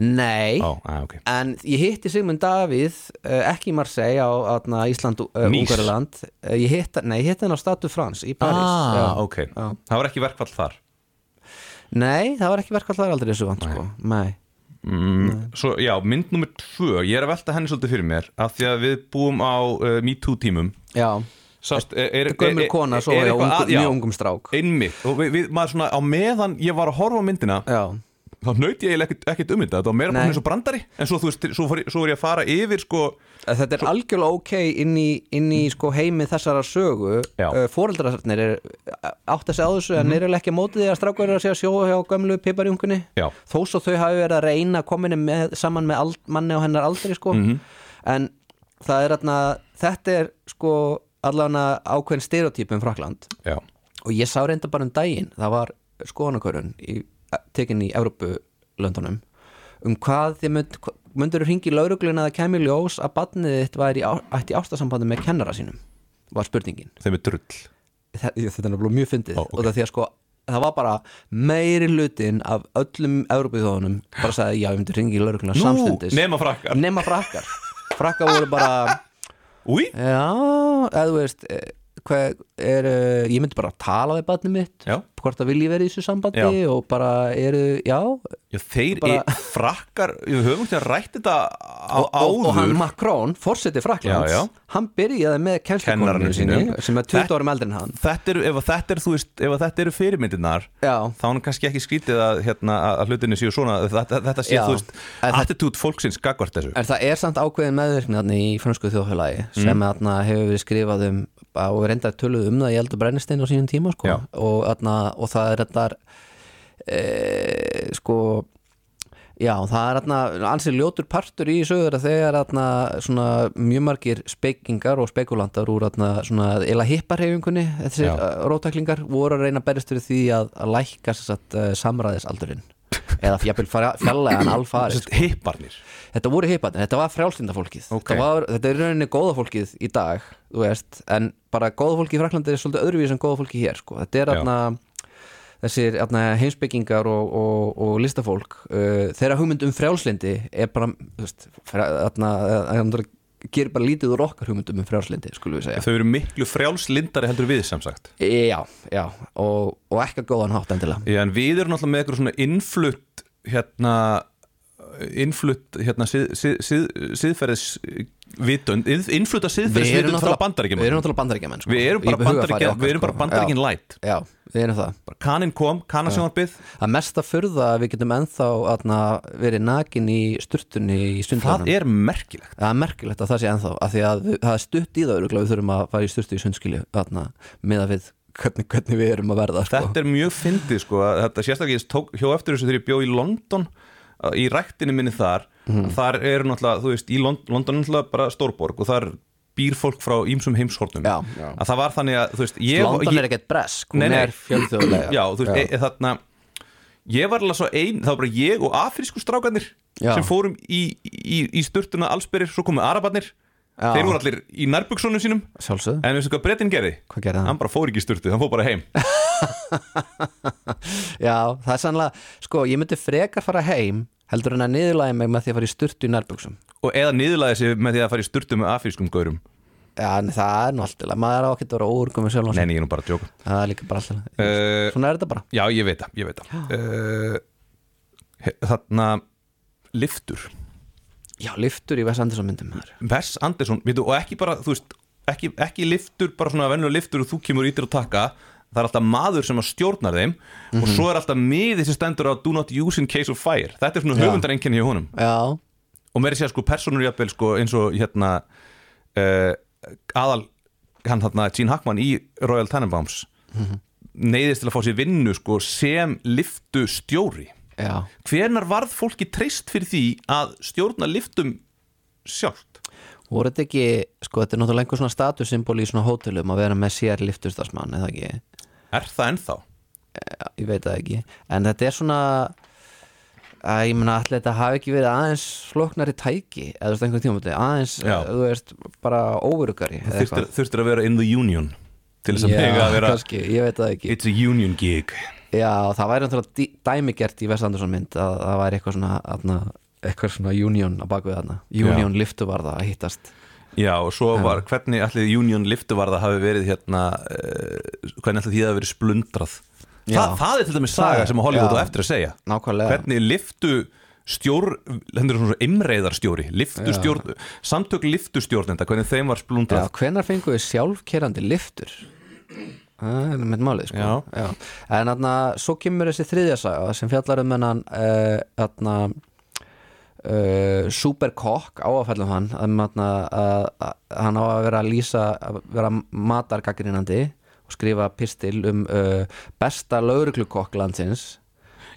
S3: Nei,
S1: Ó, að, ok
S3: En ég hitti Sigmund Davíð uh, ekki í Marseille á atna, Ísland uh,
S1: Nice.
S3: Ungarland uh, ég hitti, Nei, ég hitti hann á Statu Frans í Paris
S1: ah,
S3: Já.
S1: ok, það var ekki verkfall þar
S3: Nei, það var ekki verkvallar aldrei þessu vant sko. Nei,
S1: mm, svo, Já, mynd nummer tvö Ég er að velta henni svolítið fyrir mér af því að við búum á uh, MeToo tímum
S3: já
S1: Sást, er, er,
S3: Gömur kona, svo er
S1: eitthvað
S3: ungu,
S1: að- já,
S3: mjög ungum strák
S1: Einmitt, og við, við, maður svona á meðan ég var að horfa á myndina
S3: Já,
S1: þá naut ég eiginlega ekkert ekkit um þetta, þetta var meira bara
S3: Nei.
S1: eins og brandari en svo, þú veist, svo, fór, ég- svo er ég að fara yfir sko,
S3: þetta er algjörlega ok inn í, inn í sko, heimi þessara sögu
S1: Mm. Já. Mhm.
S3: uh, Fóreldrarnir er átt að segja eh, á þessu en er alveg ekki á móti því að strákur eru að segja sjóa hjá gömlu piparjungunni
S1: Já.
S3: þó svo þau hafi verið að reyna að koma henni með, saman með ald, manni á hennar aldri sko.
S1: Mhm.
S3: en það er atna, þetta er sko allavega ákveðin um stereotypum Frakland
S1: já,
S3: og ég sá reynda bara um daginn það var skoðanakörun í, tekin í Evrópulöndunum um hvað þið mynd, myndur hringi í laurugluna að það kemur ljós að badnið þitt væri í á- ætti ástasambandi með kennara sínum var spurningin
S1: þeim er drull
S3: Þe- ég- þetta er náttúrulega mjög fyndið
S1: Ó, ok.
S3: og það því að sko það var bara meiri hlutin af öllum Evrópuþjóðunum bara sagði já, ég myndi hringi í laurugluna
S1: Nú,
S3: samstundis
S1: nema frakkar.
S3: nema frakkar frakkar voru bara
S1: Úi,
S3: já, eða þú veist eh, hvað er, uh, ég myndi bara að tala við barnið mitt,
S1: Já.
S3: hvort það vilji verið í þessu sambandi og bara eru, já og,
S1: Já, þeir
S3: Bara-
S1: bara... frakkar, við höfum ekki að rætt þetta á, áður
S3: og hann Macron, forseti Fraklands
S1: Já, já.
S3: hann byrjaði með kennslukonunni
S1: Kennaranum
S3: sinni
S1: sínum.
S3: sem er 20
S1: Þetta-
S3: árum eldri en hann
S1: Þetta eru, ef að þetta eru, þú veist, ef að þetta eru fyrirmyndirnar
S3: já,
S1: þá er hann kannski ekki skrítið að, hérna, að- að hlutinu séu svona, þetta, þetta séu,
S3: Já.
S1: þú veist,
S3: En það-
S1: attitút fólksins gagvart þessu. Mm.
S3: En það er samt ákveðin meðvirkni þarna í fransku þjóðfélagi sem þarna hefur verið skrifað um og við reyndar töluð um það í eldur brennistein á sínum tíma sko.
S1: Já.
S3: og, þarna, og það er reyndar e, sko já, það er þarna ansið ljótur partur í sögur að þegar þarna svona mjög margir spekingar og spekulantar úr þarna svona eila hipparhefingunni þessi
S1: Já.
S3: rótaklingar voru að reyna að berist fyrir því að, að lækka sem sagt, eh, samræðisaldurinn eða jafnvel fjallega en alfarið
S1: Sko. Hipparnir.
S3: þetta voru heiparnir, þetta var frjálslinda fólkið
S1: Ok.
S3: þetta, var, þetta er í rauninni góða fólkið í dag þú veist, en bara góða fólki í Fraklandi er svolítið öðruvíð sem góða fólki hér sko. þetta er
S1: Já.
S3: atna, þessir atna, heimsbyggingar og, og, og listafólk uh, þeirra hugmynd um frjálslindi er bara þú veist, frá, atna, atna, gerir bara lítið úr okkar hugmyndum um frjálslindi skulum við segja
S1: Þau eru miklu frjálslindari heldur en við, sem sagt.
S3: Já, já, og, og ekki að góðan hátt endilega
S1: Já, en við erum náttúrulega með eitthvað svona innflutt hérna innflutt hérna sið, sið, sið, siðferðisvitund innflutta siðferðisvitund frá bandaríkjum
S3: Við erum náttúrulega bandaríkjamenn sko.
S1: við erum bara
S3: Í hugarfari
S1: bandaríkjum
S3: okkar,
S1: við erum bara
S3: sko.
S1: bandaríkjum light
S3: Já, já, við erum það
S1: Bara kaninn kom, kanasjónarbið
S3: að mesta furða að við getum ennþá atna, verið nakin í sturtunni í
S1: það
S3: sundlanum
S1: er merkilegt
S3: það er merkilegt að það sé ennþá að því að við, það er stutt í það örugglega, við þurfum að fara í sturtu í sundskilju atna, með að við hvernig, hvernig við erum að verða sko.
S1: þetta er mjög fyndið sko að þetta sérstaklega ég tók hjá eftir þessu þegar ég bjó í London að í ræktinu minni þar
S3: Mhm.
S1: þar eru náttúrulega, þú veist, í Lond London er náttúrulega bara stórborg og þar býr fólk frá ímsum heimshornum
S3: Já. Já.
S1: að það var þannig að, þú veist, ég
S3: London
S1: ég,
S3: er ekkert bresk hún
S1: Nei, nei.
S3: er fjölþjóðlega
S1: Já, þú veist, e, þarna Ég var alveg svo ein, það var bara ég og afrísku strákanir
S3: Já.
S1: sem fórum í, í, í sturtuna allsberir, svo komu arabarnir
S3: Já.
S1: Þeir voru allir í nærbuksunum sínum
S3: sjálfsög
S1: En veistu hvað Bretin gerði?
S3: Hvað gerði hann?
S1: Hann bara fór ekki í sturtu, hann fór bara heim
S3: Já, það er sannlega, sko, ég myndi frekar fara heim heldur en að niðurlægi mig með því að fara í sturtu í nærbjöksum
S1: Og eða niðurlaði sig með því að fara í sturtu með afrískum gaurum
S3: Já, en það er nú alltaf, maður er á ekkert að vera óurgum með sjálf
S1: Nei, nei, ég er nú bara að djóka
S3: Það er líka bara alltaf
S1: Eh,
S3: Svona er þetta bara
S1: Já, ég veit það, ég veit það uh, Þarna Liftur
S3: Já, liftur í Vess Andersson myndum maður
S1: Vess Andersson, veitu, og ekki bara þú veist, ekki, ekki liftur, bara svona venjulega liftur og þú kemur ítir og taka það er alltaf maður sem að stjórnar þeim og svo er alltaf miðið sem stendur á do not use in case of fire, þetta er svona
S3: Já.
S1: höfundarenginni hjá honum
S3: Já,
S1: og meiri sér sko personur jafnvel sko eins og hérna uh, aðal hann þarna Gene Hackman í Royal Tannenbaums neyðist til að fá sér vinnu sko sem liftu stjóri
S3: já
S1: hvenar varð fólki treyst fyrir því að stjórna liftum sjálft?
S3: voru þetta ekki, sko þetta er náttúrulega einhver svona statussymbol í svona hótelum að vera með sér liftustarsmann eða ekki, Eh,
S1: Er það ennþá?
S3: ég veit það ekki en þetta er svona að ég meina allir þetta hafi ekki verið aðeins flóknari tæki, eða þú veist einhvern tíma aðeins, eh,
S1: Já.
S3: þú veist, bara óverugari eða
S1: þurftir,
S3: eitthvað.
S1: þurftir að vera in the union til þess að
S3: Já,
S1: mega að vera
S3: kannski, ég veit það ekki
S1: it's a union gig
S3: já, það væri náttúrulega dí- dæmigert í Vestandursson mynd að það væri eitthvað svona aðna, eitthvað svona union á bakvið þarna union liftuvarða að hittast
S1: já og svo var hvernig allir union liftuvarða hafi verið hérna uh, hvernig allir því að hafi verið splundrað Þa,
S3: Já.
S1: það er til dæmis saga
S3: Það-
S1: sem að Hollywood
S3: já.
S1: á eftir að segja
S3: nákvæmlega
S1: hvernig liftu stjór hendur svona imreiðarstjóri liftustjórn, samtök liftustjórnenda hvernig þeim var
S3: Já,
S1: splundrað
S3: hvenær fengu við sjálfkerandi liftur? Það er með málið sko
S1: Já.
S3: En þarna, svo kemur þessi þriðja saga sem fjallar um hennan uh, þarna uh, superkokk áafællum hann um, þarna, að, að hann á að vera að lýsa að vera matargagrinandi og skrifa pistil um uh, besta lauruglukokk landsins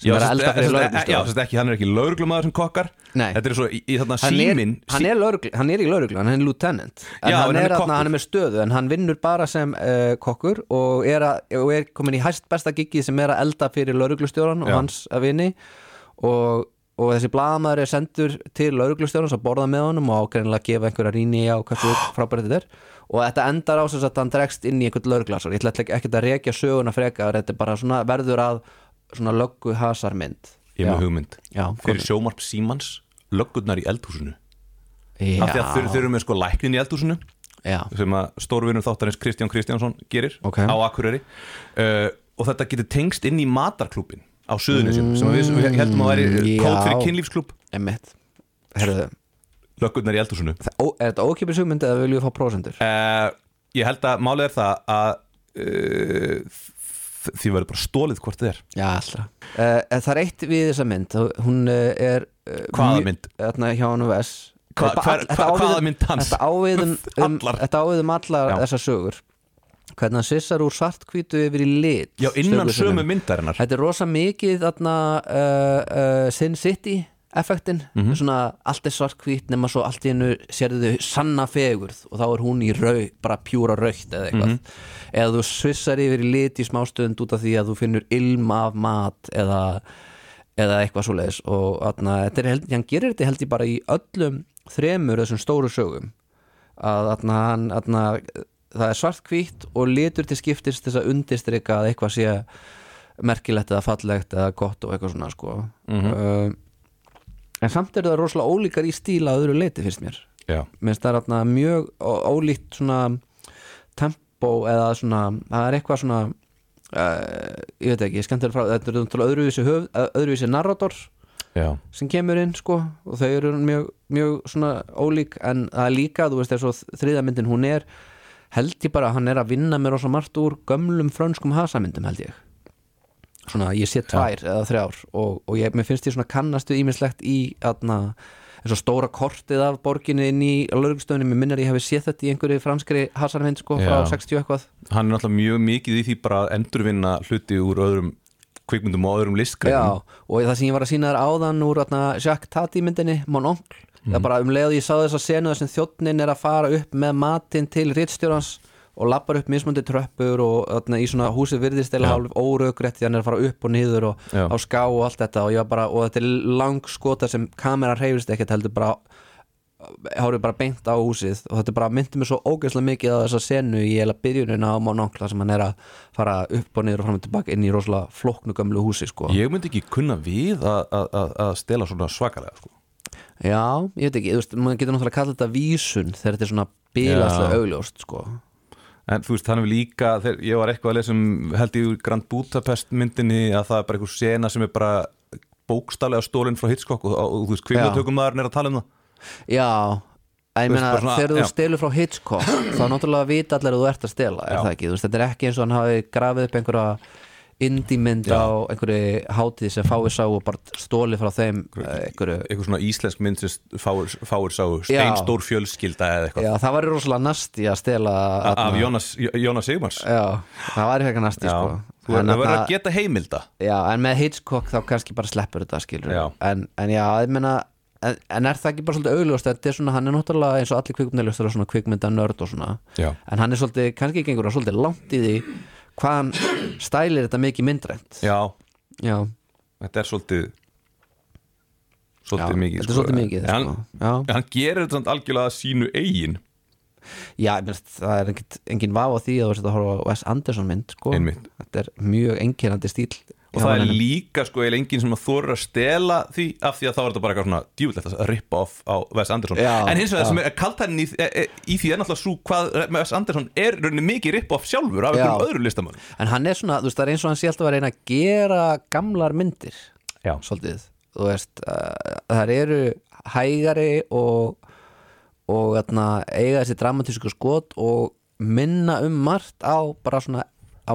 S3: sem er að elda fyrir
S1: já,
S3: lauruglustöð
S1: þess að ekki, hann er ekki lauruglumaður sem kokkar
S3: Nei.
S1: þetta er svo í, í þarna
S3: hann
S1: símin
S3: er, hann, er lögregl, hann er í lauruglu, hann er lieutenant en
S1: Já,
S3: hann,
S1: en hann er
S3: er hann,
S1: kokkur.
S3: hann er með stöðu en hann vinnur bara sem uh, kokkur og er, að, og er komin í hæst besta gigið sem er að elda fyrir lauruglustjóran og
S1: Já.
S3: hans að vinni og, og þessi blaðamaður er sendur til lauruglustjóran að borða með honum og ágreinlega gefa einhverja rýni á hversu frábæri þetta er og þetta endar á sem sagt að hann dregst inn í einhvern lauruglasar ég ætla ekki að rekja söguna frekar þetta er bara svona verður að svona löggu hasarmynd
S1: ég er með hugmynd
S3: Já,
S1: fyrir sjómarp símans löggurnar í eldhúsinu
S3: Já.
S1: af því að þeir, þeir eru með sko læknin í eldhúsinu
S3: Já.
S1: sem að stórvinur þáttarins Kristján Kristjánsson gerir
S3: Ok.
S1: á Akureyri uh, og þetta getur tengst inn í matarklúbin á Suðunisjum sem að við, við heldum að væri
S3: Mm.
S1: uh,
S3: Já.
S1: kót fyrir kynlífsklúb
S3: Emmitt Herðu,
S1: löggurnar í eldhúsinu
S3: það- ó- er þetta ókipis hugmynd eða viljum við fá prósendur?
S1: uh, ég held að málið er það að uh, því verður bara stólið hvort þið er
S3: Já, allra uh, Það er eitt við þessa mynd þá- Hún eh, er uh,
S1: Hvaða mynd?
S3: Þarna hjá hann og S
S1: Hva- hver- hva- hvaða mynd hans?
S3: Þetta áviðum, um,
S1: Allar.
S3: þetta áviðum allar
S1: Já.
S3: þessar sögur Hvernig hann sissar úr svartkvítu yfir í lit
S1: já innan
S3: stöku sinnum.
S1: sömu myndarinnar
S3: Þetta er rosa mikið þarna, uh, uh, Sin City effektin, svona allt er svartkvít nema svo allt í hennu sérðu þau sanna fegurð og þá er hún í rau bara pjúra raukt eða eitthvað eða þú svissar yfir í lit í smástönd út af því að þú finnur ilm af mat eða, eða eitthvað svoleiðis og þarna, þetta er held, hann gerir þetta held ég bara í öllum þremur þessum stóru sögum að þarna, hann, þarna, það er svartkvít og litur til skiptist þess að undirstrika að eitthvað sé merkilegt eða fallegt eða gott og eitthvað svona sko. uh, en samt eru það rosalega ólíkar í stíla að öðru leiti fyrst mér
S1: já
S3: mér finnst það er þarna mjög ó- ólíkt svona tempo eða svona, það er eitthvað svona uh, ég veit ekki, skemmtilega frá þetta eru náttúrulega öðruvísi, höf, öðruvísi narrator
S1: já
S3: sem kemur inn sko og þau eru mjög, mjög svona ólík en það er líka, þú veist, þessu þriðamyndin hún er, held ég bara að hann er að vinna mér rosa margt úr gömlum frönskum hasamyndum held ég svona, ég sé tvær eða þrjár og, og ég, mér finnst ég svona kannastu ímislegt í aðna, eins og stóra kortið af borginni inn í laurugustöðunni, mér minnir að ég hefði séð þetta í einhverju franskri hasamynd sko frá
S1: Já.
S3: 60 eitthvað
S1: hann er náttúrulega mjög mikið í því bara að endurvinna hluti úr öðrum kvikmyndum og öðrum listgreinum
S3: Já, og það sem ég var að sína þér áðan úr atna, Jacques Tati myndinni, Mononcle það er bara um leið og ég sá þess að senu þessum þjóttnin er að fara upp með matinn til rittstjórans og lappar upp mismundi tröppur og atna, í svona húsið virðist eða
S1: Já.
S3: hálf órökrétt því hann er að fara upp og niður og
S1: Já.
S3: á ská og allt þetta og, ég var bara, og þetta er lang skota sem kamera reyfist ekkert heldur bara hárið bara beint á húsið og þetta bara myndi mér svo ógeðslega mikið á þessa senu í eða byrjunina á Mononcle þar sem hann er að fara upp og niður og fram og tilbaka inn í rosalega flóknu gömlu húsi sko.
S1: ég myndi ekki kunna við að, að, að, að stela svona svakalega sko.
S3: Já, ég veit ekki, þú veist, maður getur náttúrulega að kalla þetta vísun þegar þetta er svona bílaslega
S1: Já.
S3: augljóst, sko
S1: en þú veist þannig við líka þegar ég var eitthvað að lesa um held ég úr Grand Budapest myndinni að það er bara einhver sena sem er bara bókstallega stólinn frá Hitchcock og, og, og þú veist kvikmyndatökumæðurinn er að tala um það
S3: Já, að ég
S1: Þú veist,
S3: meina,
S1: bara svona-
S3: þegar þú
S1: já.
S3: stelur frá Hitchcock þá náttúrulega vita allir að þú ert að stela, er
S1: Já.
S3: það ekki, þú veist, þetta er ekki eins og hann hafi grafið upp einhverja indímynd
S1: Já.
S3: á einhverju hátíð sem fáið sá og bara stólið frá þeim eh, einhverju
S1: eitthvað svona íslensk mynd sem st- fáir, fáir sá
S3: Já.
S1: steinstór fjölskylda eða eitthvað
S3: Já, það var rosalega nasti að stela
S1: af
S3: þarna.
S1: Jónas, Jónas Sigmars
S3: Já, það var eitthvað nasti,
S1: Já,
S3: sko
S1: þú
S3: En
S1: verður
S3: þarna-
S1: að geta heimilda
S3: Já, en með Hitchcock þá kannski bara sleppur þetta skilur
S1: Já.
S3: En, en já, ég meina en, en er það ekki bara svolítið augljóst að þetta er svona, hann er náttúrulega eins og allir kvikmyndaljóstar og svona kvikmyndanörd og svona
S1: Já.
S3: en hann er svolítið, kannski gengur hann svolítið langt í því hvað hann stælir þetta mikið myndrænt
S1: já,
S3: Já,
S1: þetta er svolítið
S3: já,
S1: svolítið mikið
S3: þetta er svolítið mikið
S1: en,
S3: sko. Já,
S1: En hann gerir þetta samt algjörlega að sínu eigin
S3: já ég meina, það er engin, engin vafa á því að þú veist að horfa á Wes Anderson mynd sko.
S1: Einmitt.
S3: Þetta er mjög einkennandi stíl
S1: og
S3: hjá
S1: það er
S3: manninum.
S1: líka sko eða enginn sem að þóra að stela því af því að þá er þetta bara eitthvað svona djúvilegt að rippa off á Wes Anderson
S3: Já,
S1: en hins vegar
S3: já.
S1: sem er kaltænin í, e, e, í því er náttúrulega svo hvað Wes Anderson er í rauninni mikið rippa off sjálfur af
S3: Já.
S1: einhverjum öðru listamann
S3: En hann er svona, þú veist, það er eins og hann sé alltaf að reyna að gera gamlar myndir
S1: Já.
S3: Svolítið, þú veist uh, þar eru hægari og og þarna, eiga þessi dramatísku skot og minna um margt á bara svona á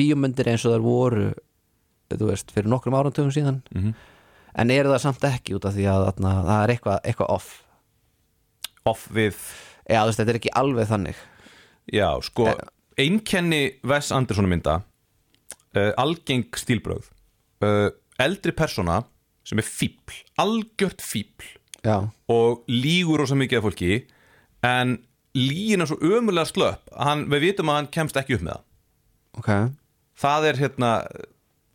S3: bíómyndir eins og þar voru þú veist, fyrir nokkrum árantugum síðan -hmm. en eru það samt ekki út af því að þarna, það er eitthvað, eitthvað off
S1: off við,
S3: Já, þú veist, þetta er ekki alveg þannig
S1: já sko
S3: Eh.
S1: einkenni Wes Anderson mynda uh, algeng stílbröð uh, eldri persona sem er fíbl, algjört fíbl
S3: Já,
S1: og lígur rosa mikið af fólki en lígin er svo ömulega slöpp að hann, við vitum að hann kemst ekki upp með það
S3: ok
S1: það er hérna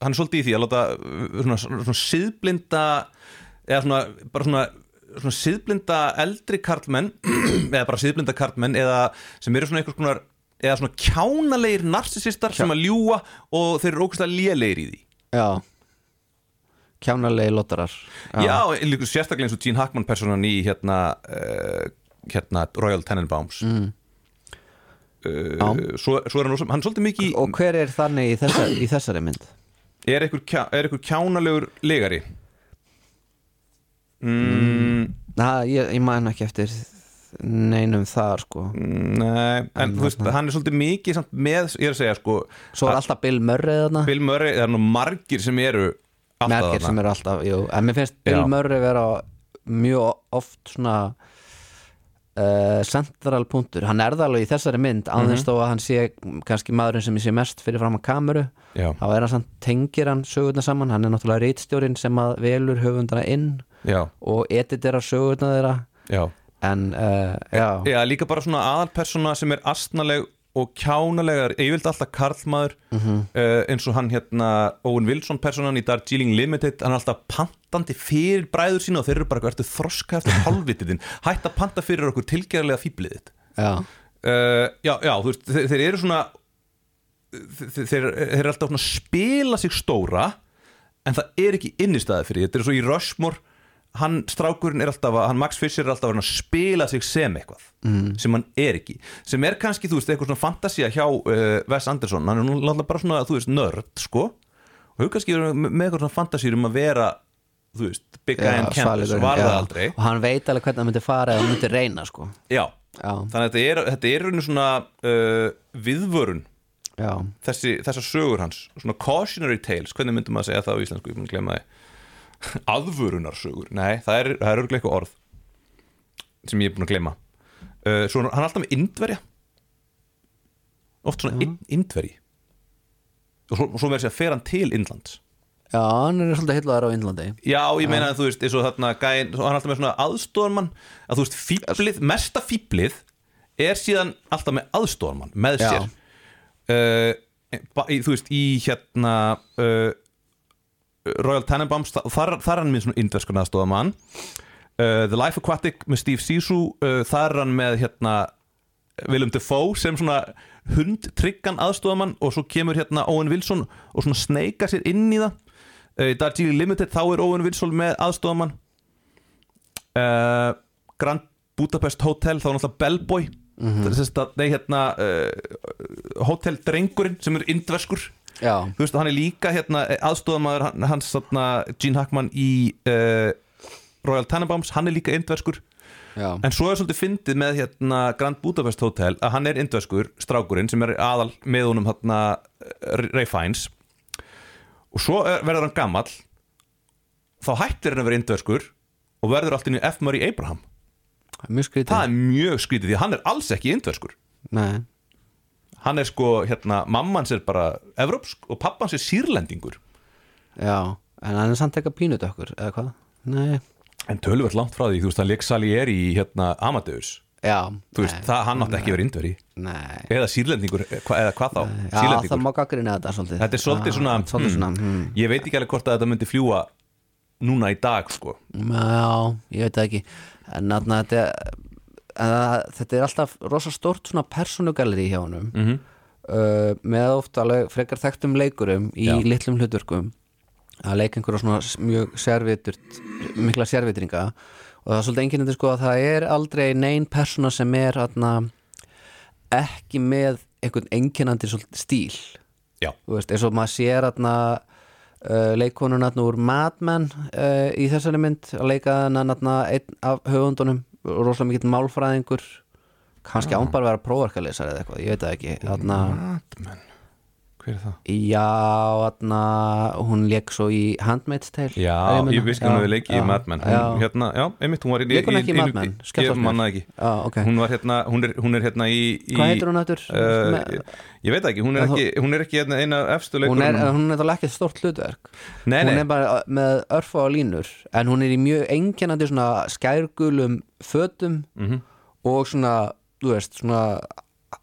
S1: hann er svolítið í því að láta uh, svona, svona siðblinda eða svona, bara svona, svona siðblinda eldri karlmenn eða bara siðblinda karlmenn eða sem eru svona einhvers konar eða svona kjánalegir narsisistar sem að ljúa og þeir eru ókvæslega lélegir í því
S3: Já Kjánalegi lotarar
S1: Já, en líka sérstaklega eins og Gene Hackman personan í hérna, uh, hérna Royal eh, Tenenbaums mm. uh, svo, svo er hann, rosa- hann er svolítið mikið
S3: Og hver er þannig í, þessa, í þessari mynd?
S1: í er einhver kjá- er einhver kjánalegur legari mm,
S3: Na, ég, ég man ekki eftir neinum þar sko
S1: nei, en þú veist, hann er svolítið mikið samt með, ég er að segja sko
S3: Svo er alltaf Bill Murray þarna
S1: Bill Murray, það er nú margir sem eru alltaf
S3: Merkir
S1: þarna.
S3: sem eru alltaf, jú En mér finnst Bill
S1: Já.
S3: Murray vera mjög oft svona uh, central punktur Hann er það alveg í þessari mynd aðeins
S1: Mhm.
S3: þó að hann sé kannski maðurinn sem ég sé mest fyrir fram að kameru
S1: Já.
S3: Þá er hann samt tengir hann sögurnar saman Hann er náttúrulega reitstjórinn sem að velur höfundana inn
S1: já,
S3: og editera sögurnar þeirra
S1: já
S3: En, uh, já,
S1: Já, líka bara svona aðalpersona sem er astnaleg og kjánalegar, yfirlt alltaf karlmaður uh, eins og hann hérna Owen Wilson personan í Darjeeling Limited hann er alltaf pantandi fyrir bræður sína og þeir eru bara, ertu þroska eftir halvvitiðin hætt að panta fyrir okkur tilgerðarlega fýbliðið
S3: já
S1: uh, já, já, þú veist, þeir, þeir eru svona þe- þe- þeir, þeir eru alltaf svona að spila sig stóra en það er ekki innistæði fyrir því. þetta er svo í Rushmore hann strákurinn er alltaf, að, hann Max Fischer er alltaf að reyna að spila sig sem eitthvað mm. sem hann er ekki, sem er kannski þú veist, eitthvað svona fantasía hjá uh, Wes Anderson hann er nú alltaf bara svona, þú veist, nörd sko, og hefur kannski verið með með eitthvað svona fantasýr um að vera þú veist, Big Guy and Campus,
S3: svalirinn,
S1: var
S3: já.
S1: það aldrei
S3: og hann veit alveg hvernig hann myndi fara eða hann myndi reyna sko
S1: já,
S3: já,
S1: þannig að þetta er, þetta er í rauninni svona uh, viðvörun
S3: já,
S1: þessi, þessar sögur hans svona cautionary tales, hvernig myndum maður að segja það á íslensku, ég mun að glemma það aðvörunarsögur, nei, það er, það er örglega eitthvað orð sem ég er búin að glemma uh, svo hann er alltaf með indverja oft svona mm. indverji og svo, og svo verður sér að fer hann til Indlands
S3: já, hann er svolítið hillaðar á Índlandi
S1: Já, ég meina að þú veist, eins og þarna gæin, hann er alltaf með svona aðstofarmann að þú veist, fýblið, mesta fýblið er síðan alltaf með aðstofarmann með
S3: Já.
S1: sér uh, ba- í, þú veist, í hérna uh, Royal Tenenbaums þa- þar, þar er hann með svona indverskan aðstofarmann uh, The Life Aquatic með Steve Sisu uh, þar er hann með hérna Willem Dafoe sem svona hundtryggan aðstofamann og svo kemur hérna Owen Wilson og svona sneika sér inn í það Uh, í Darjeeling Limited þá er Owen Wilson með aðstofamann uh, Grand Budapest Hotel þá er náttúrulega Bellboy mm -hmm. þess að, nei hérna uh, Hotel Drengurinn sem er indverskur
S3: já,
S1: þú veist, hann er líka hérna aðstofamaður hans þarna Gene Hackman í uh, Royal Tenenbaums, hann er líka indverskur
S3: já,
S1: en svo er svolítið fyndið með hérna Grand Budapest Hotel að hann er indverskur, strákurinn sem er aðal með honum hérna Ray Fiennes og svo er, verður hann gamall þá hættir hann að vera indverskur og verður allt inn í F. Murray Abraham
S3: mjög skrítið
S1: það er mjög skrítið því að hann er alls ekki indverskur
S3: Nei.
S1: hann er sko, hérna, mamman sér bara evrópsk og pappan sér sírlendingur
S3: já, en hann er samt eitthvað pínut okkur eða hvað, nei,
S1: en tölvöld langt frá því, þú veist, hann leik Salieri í hérna Amadeus,
S3: já
S1: þú veist,
S3: nei,
S1: það hann átti ekki verið indveri,
S3: nei
S1: eða sírlendingur hva, eða hvað þá,
S3: Já, það
S1: sírlendingur
S3: má gaggrina þetta svolítið
S1: þetta er svolítið
S3: Já,
S1: svona,
S3: Ah, svolítið svona
S1: hmm,
S3: hmm.
S1: ég veit ekki alveg hvort að þetta myndi fljúa núna í dag, sko
S3: Mm, Já, ég veit það ekki En þarna þetta en það- Þetta er alltaf rosa stórt svona persónugaleri hjá honum -hmm. uh, með oft alveg frekar þekktum leikurum í
S1: Já.
S3: litlum hlutverkum að leika einhverja svona s- mjög sérviturt mikla sérvitringa og það er svolítið enginn sko að það er aldrei nein persóna sem er atna, ekki með einhvern enginnandi stíl
S1: já,
S3: þú veist, eins og maður sér atna, uh, leikonun atna, úr Mad Men uh, í þessari mynd að leika hann atna, einn af höfundunum rosalega mikill málfræðingur kannski
S1: Ah.
S3: án bara að vera prófarkalesar eða eitthvað, ég veit það
S1: Mm.
S3: ekki atna,
S1: Madman, hver er það?
S3: já, atna, hún leik svo í Handmaid's Tale
S1: já,
S3: ef muna.
S1: ég veist hann hefur
S3: Já,
S1: leikið í
S3: já,
S1: Madman
S3: já,
S1: hún, hérna, já, einmitt, hún var í
S3: Leikur hún
S1: í-
S3: ekki í
S1: í-
S3: Mad Men? Skellast
S1: ég
S3: mér.
S1: manna ekki
S3: Já, ok.
S1: hún var hérna, hún er, hún er hérna í, í
S3: Hvað heitir hún aftur?
S1: Uh,
S3: Me-
S1: ég, ég veit það ekki, hún er
S3: En þú-
S1: ekki, hún er ekki hérna eina efstu
S3: hún er,
S1: leikurinn
S3: hún er það ekki stort hlutverk
S1: Nei,
S3: hún
S1: nei.
S3: er bara uh, með örfa á línur en hún er í mjög einkennandi svona skærgulum fötum
S1: Mhm.
S3: -hmm. og svona, þú veist svona,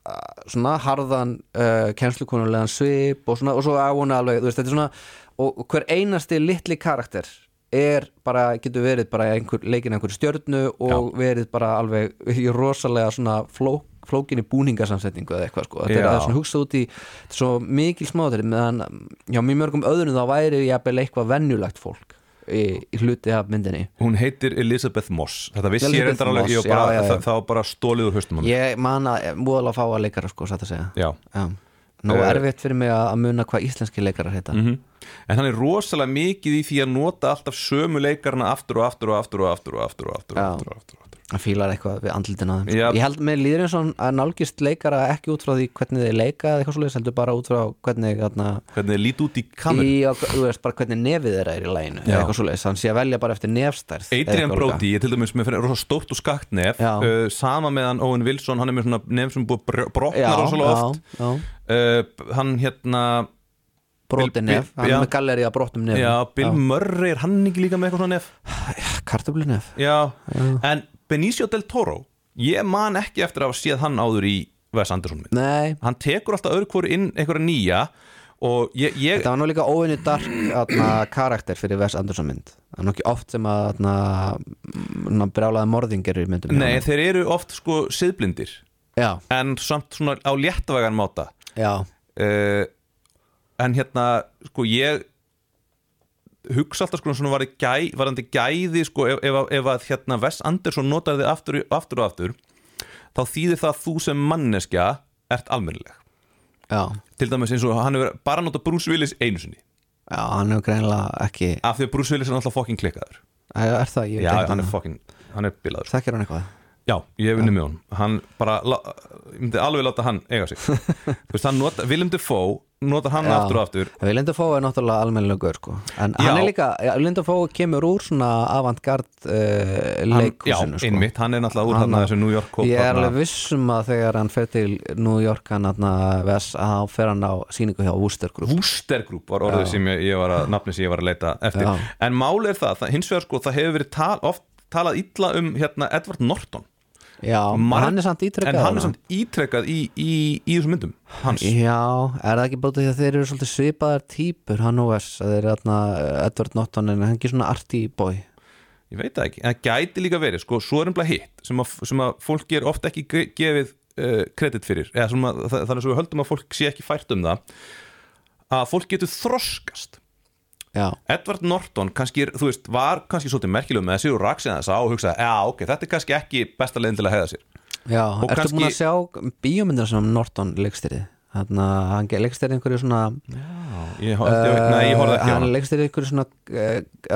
S3: uh, svona harðan uh, kennslukonulegan svip og, svona, og svo á hún alveg, þú veist, þetta er svona og og hver einasti litli karakter er bara, getur verið bara einhver, leikin einhverju stjörnu og verið bara alveg í rosalega svona flók flókinni búningasamsetningu eða eitthvað sko þetta er
S1: Já.
S3: að svona hugsa út í þetta er svo mikil smáður meðan hjá mjög mörgum öðrum þá væri jafnvel eitthvað venjulegt fólk í, í hluti af myndinni
S1: Hún heitir Elizabeth Moss Þetta vissi ég
S3: Elizabeth
S1: reyndar alveg, ég
S3: Moss,
S1: var bara,
S3: já, já, já.
S1: það, það var bara stólið úr haustum hann
S3: Ég man að múðalega fá að leikara sko, satt að segja
S1: Já,
S3: Já. Nú
S1: Eh,
S3: erfitt fyrir mig að að muna hvað íslenski leikarar heita
S1: mhm En hann er rosalega mikið í því að nota alltaf sömu leikarna aftur og aftur og aftur og aftur og aftur og aftur og
S3: Já.
S1: aftur og aftur og aftur
S3: Hann fílar eitthvað við andlutina þeim
S1: Já.
S3: sko. Ég held með líður eins og hann að nálgist leikara ekki út frá því hvernig þeir leika eða eitthvað svoleiðis heldur bara út frá hvernig þarna,
S1: Hvernig þið lít út í kameru
S3: í, og, þú veist, bara hvernig nefið þeirra er í læginu
S1: Já.
S3: eða eitthvað svoleiðis, hann sé að velja bara eftir nefstærð eða
S1: Adrian
S3: eitthvað líka.
S1: Brody, ég til dæmis með fyrir rosa stórt og skakt nef
S3: Já.
S1: uh, Sama meðan Owen Wilson, hann er með svona nef sem er búið að br- brotna rosalega um oft
S3: já, já,
S1: uh, Hann hérna,
S3: broti
S1: Bill-
S3: nef, hann
S1: já.
S3: er með galleri að brotum nef
S1: já, Bill Murray er hann ekki líka með eitthvað svona nef
S3: Ah, kartöflunef
S1: Já, en Benicio del Toro ég man ekki eftir að hafa séð hann áður í Wes Anderson mynd
S3: Nei,
S1: hann tekur alltaf öðru hvori inn einhverja nýja og ég, ég
S3: þetta var nú líka óvinni dark atna, karakter fyrir Wes Anderson mynd það er nú ekki oft sem að mm, atna, atna, brjálaði morðingir í myndum hjá
S1: nei,
S3: honum.
S1: þeir eru oft sko siðblindir
S3: já,
S1: en samt svona á léttvægan máta
S3: já,
S1: uh, en hérna sko ég hugsa alltaf sko svona varði gæ, varandi gæði sko ef, ef, að- ef að hérna Wes Anderson notaði þig aftur, í- aftur og aftur þá þýðir það að þú sem manneskja ert almennileg
S3: já,
S1: til dæmis eins og hann hefur bara notað Bruce Willis einu sinni
S3: já hann er greinilega ekki
S1: af því að Bruce Willis er alltaf fokkin klikkaður
S3: er er það, ég
S1: já,
S3: veit ekki
S1: hann er fokkin, hann er bilaður
S3: þekkir hann eitthvað
S1: já, ég hef vinnið með honum hann bara, la- ég myndi alveg láta hann eiga sig þú veist, hann nota, Willem Dafoe notar hann
S3: Já.
S1: aftur og aftur
S3: Við Lindu Fóu er náttúrulega almennilegur sko. en
S1: Já.
S3: hann er líka, Lindu Fóu kemur úr svona avantgard uh,
S1: hann, já,
S3: leikhúsinu sko.
S1: einmitt, hann er náttúrulega úr
S3: Hann-
S1: hann þessu New York kóp
S3: Ég er
S1: þarna.
S3: alveg vissum að þegar hann fer til New York hann atna, ves, að hann fer hann á síningu hjá Wooster Group
S1: Wooster Group var orðið sem ég, ég var að nafni sem ég var að leita eftir
S3: Já.
S1: en máli er það, það, hins vegar sko, það hefur verið tal, oft talað illa um hérna Edward Norton
S3: Já,
S1: Marg-
S3: hann er samt ítrekkað
S1: en hann
S3: þarna.
S1: er samt ítrekkað í, í, í þessum myndum hans
S3: Já, er það ekki bótið því að þeir eru svolítið svipaðar típur hann og Wes, að þeir eru atna, Edward Norton en hann er ekki svona arty boy
S1: ég veit það ekki, en það gæti líka verið sko, svo er umlað hitt sem að, sem að fólk er oft ekki ge- gefið uh, kredit fyrir eða sem að, það, þannig sem við höldum að fólk sé ekki fært um það að fólk getur þroskast
S3: Já,
S1: Edward Norton kannski, er, þú veist, var kannski svolítið merkilegum með þessi og raksin þess að og hugsaði, já ok, þetta er kannski ekki besta leiðin til að hefða sér
S3: já,
S1: Og
S3: ertu
S1: kannski-
S3: búin að sjá bíómyndir sem Norton leikstyrði Þannig að hann leikstyrði einhverju svona eh,
S1: ég, uh, ég, nei, ég horfði ekki á
S3: Hann
S1: hana
S3: leikstyrði einhverju svona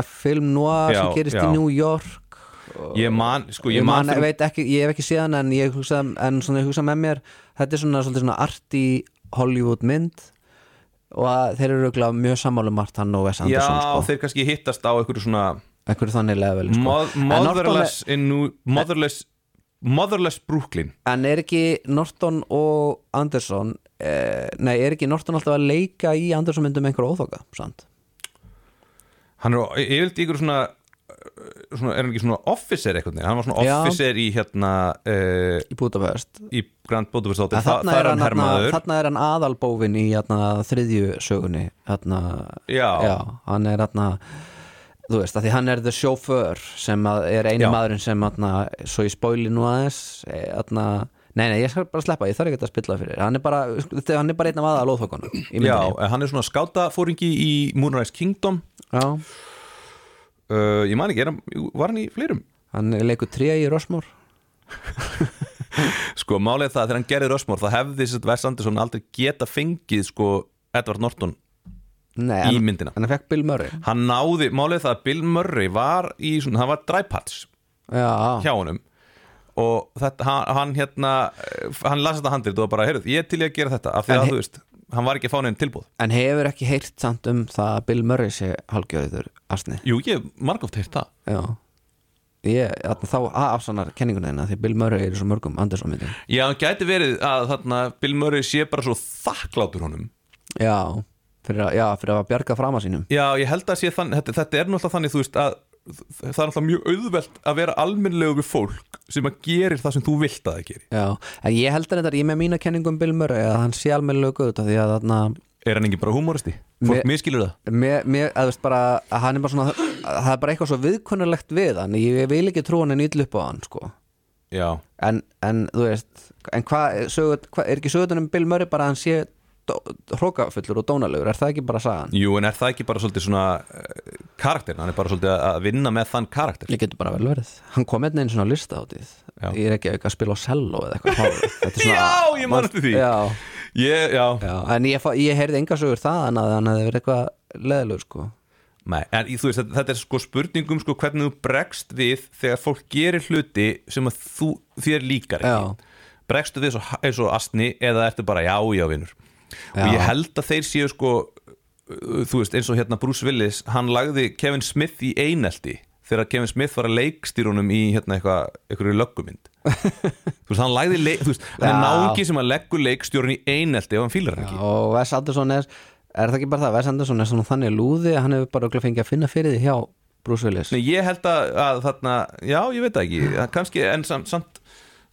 S3: uh, film noir
S1: Já,
S3: sem gerist
S1: já.
S3: í New York
S1: ég man, sko,
S3: ég,
S1: ég man,
S3: man,
S1: fyrir,
S3: veit ekki, ég hef ekki séð hann en ég hugsa, en svona, ég hugsa með mér þetta er svona, svolítið svona arti Hollywood mynd og að þeir eru örugglega mjög sammálum margt hann og Wes
S1: já,
S3: Anderson sko.
S1: þeir kannski hittast á einhverju svona
S3: einhverju þannig level sko.
S1: mo-
S3: En Norton er-
S1: motherless, in New- motherless motherless Brooklyn
S3: en er ekki Norton og Anderson eh, nei, er ekki Norton alltaf að leika í Anderson myndum einhverju óþoka sant?
S1: hann er á- ég vildi ykkur svona uh, svona, er hann ekki svona officer eitthvað hann var svona
S3: Já.
S1: officer í hérna uh,
S3: í Budapest
S1: í Grand Budapest
S3: En
S1: Hotel Þa,
S3: þarna
S1: það
S3: er
S1: er
S3: hann,
S1: hann
S3: þarna,
S1: hermaður
S3: þarna er hann aðalbófin í þarna, þriðju sögunni þarna,
S1: Já.
S3: hann er þarna þú veist, að því hann er the chauffeur sem að er einu
S1: Já.
S3: maðurinn sem þarna, svo ég spóli nú aðeins eh, þarna, nei, nei, ég skal bara sleppa ég þarf ekki að spilla fyrir, hann er bara þetta- hann er bara einn af aðalóþokunum í
S1: já,
S3: myndinni
S1: en hann er svona skátafóringi í Moonrise Kingdom
S3: Já.
S1: uh, ég man ekki, er hann, jú, var hann í fleirum
S3: hann leikur tré í Rosmór
S1: sko, málið er það að þegar hann gerði Rösmór það hefði sett Wes Anderson aldrei geta fengið sko, Edward Norton
S3: nei,
S1: í
S3: hann,
S1: myndina
S3: hann fekk Bill Murray
S1: hann náði, málið er það að Bill Murray var í svona, hann var dræpats
S3: já,
S1: hjá honum og þetta, hann, hann hérna eh, hann las þetta handrið og bara, heyrðu, ég er til ég að gera þetta af því
S3: En
S1: að
S3: he-
S1: þú veist, hann var ekki að fá neinn tilbúð
S3: en hefur ekki heyrt samt um það að Bill Murray sé halgjörður asni
S1: Jú, ég hef margóft heyrt það
S3: Já Ég, þarna, þá afsannar kenninguna þeina því Bill Murray er í svo mörgum Anderson myndum
S1: Já, hann gæti verið að þarna Bill Murray sé bara svo þakklátur honum
S3: Já, fyrir að, já, fyrir að bjarga frama sínum
S1: Já, ég held að sé þannig, þetta, þetta er náttúrulega þannig þú veist að það er náttúrulega mjög auðvelt að vera almennlegu við fólk sem að gerir það sem þú vilt að það gerir
S3: Já, en ég held að þetta, ég með mína kenningum Bill Murray að hann sé almennilega guð því að þarna
S1: Er hann ekki bara húmóristi? Fólk
S3: Mér-
S1: miskilur það
S3: Mér, mér, að veist bara, að hann er bara svona að það er bara eitthvað svo viðkunnulegt við hann ég vil ekki trú hann en ítlu upp á hann sko.
S1: Já,
S3: en, en þú veist en hvað, sögu- hvað, er ekki sögutunum Bill Murray bara að hann sé hrókafullur og dónalegur, er það ekki bara sagan?
S1: jú, en er það ekki bara svolítið svona eh, karakterin, hann er bara svolítið að vinna með þann karakter
S3: Ég getur bara vel verið Hann kom einnig einu svona listáttið
S1: Já.
S3: Ég er ekki að spila á cello eða eitthvað hár. Þetta er
S1: Já, ég man eftir því.
S3: já,
S1: ég, já,
S3: já. En ég, fá- ég heyrði enga sögur það en að hann hefði verið eitthvað leðilegur sko.
S1: Nei, en í- þú veist, þetta, þetta er sko spurningum sko hvernig þú bregst við þegar fólk gerir hluti sem að þú þér líkar ekki bregstu við eins og, eins og astni eða ertu bara já, já, vinnur og
S3: Já.
S1: ég held að þeir séu sko uh, þú veist, eins og hérna Bruce Willis hann lagði Kevin Smith í einelti þegar Kevin Smith var að leikstýrunum í hérna eitthvað, einhverju löggumynd þú veist, hann lagði leik, þú veist, hann er
S3: Já.
S1: náungi sem að leggur leikstjórun í einelti ef hann fýlar hann
S3: Já,
S1: ekki
S3: Og Wes Anderson er Er það ekki bara það, Wes Anderson er svona þannig lúði að hann hefur bara örugglega fengið að finna fyrir því hjá Bruce Willis
S1: Nei, ég held að, að þarna, já, ég veit það ekki að kannski, en samt, samt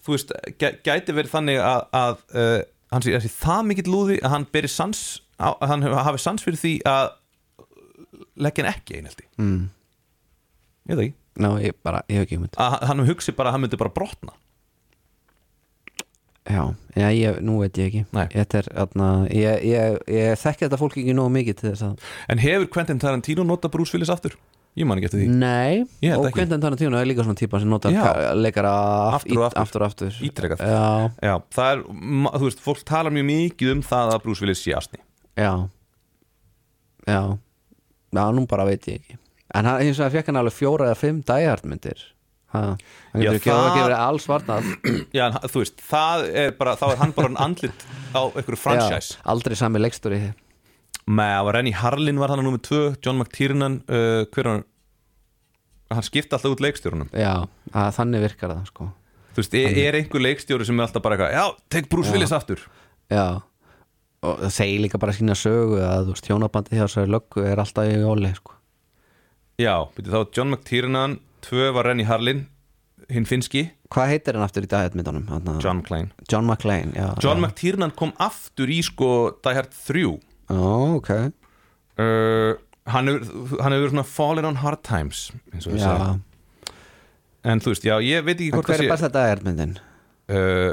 S1: þú veist, gæ- gæti verið þannig að, að uh, hann sé, sé það mikill lúði að hann beri sans á, að hann hafi sans fyrir því að leggja hann ekki einhaldi mm. ég veit það ekki,
S3: Ná, ég bara, ég hef ekki hugmynd
S1: að hann- hann hugsi bara að hann myndi bara brotna
S3: Já, já ég, nú veit ég ekki
S1: Nei.
S3: Þetta er, atna, ég, ég, ég þekki þetta fólk ekki nógu mikið til þess að
S1: en hefur Quentin Tarantino nota Bruce Willis aftur? Ég man ekki eftir því
S3: Nei,
S1: Ég held
S3: og
S1: ekki.
S3: Quentin Tarantino er líka svona típa sem notar
S1: Já.
S3: ka- leikara
S1: Aftur og
S3: ít- aftur, og aftur.
S1: Ítrekað.
S3: Já,
S1: Já, það er, ma- þú veist, fólk talar mjög mikið um það að Bruce Willis sé asni
S3: já Já Já, nú bara veit ég ekki En hann, eins og það fekk hann alveg fjóra eða fimm dæjartmyndir Hann
S1: Já,
S3: getur ekki það...
S1: það-
S3: að gefa alls varnað
S1: Já, en, þú veist, það er bara, þá er hann bara andlit á einhverju franchise
S3: Aldrei sami leikstúri
S1: Með að Renny Harlin var hann að nummið 2 John McTiernan, uh, hver var hann hann skipta alltaf út leikstjórunum
S3: Já, að, þannig virkar það sko
S1: þú veist, er, er einhver leikstjóri sem er alltaf bara eitthvað, já, tek Bruce Willis aftur
S3: Já og það segir líka bara sína sögu að þú veist hjónabandi hjá þessari löggu er alltaf í óli sko.
S1: já, byrju, þá var John McTiernan 2 var Renny Harlin, hinn finski
S3: hvað heitir hann aftur í dæjartmyndunum? Þarna-
S1: John McClane
S3: Mm. John McClane já,
S1: John
S3: já.
S1: McTiernan kom aftur í sko Die Hard 3
S3: Ó, ok
S1: uh, hann hefur hann hefur svona fallen on hard times eins og við
S3: já.
S1: segjum. en þú veist, já, ég veit ekki
S3: En
S1: hvort
S3: hver
S1: það
S3: er
S1: sé
S3: besta dæjartmyndin?
S1: uh,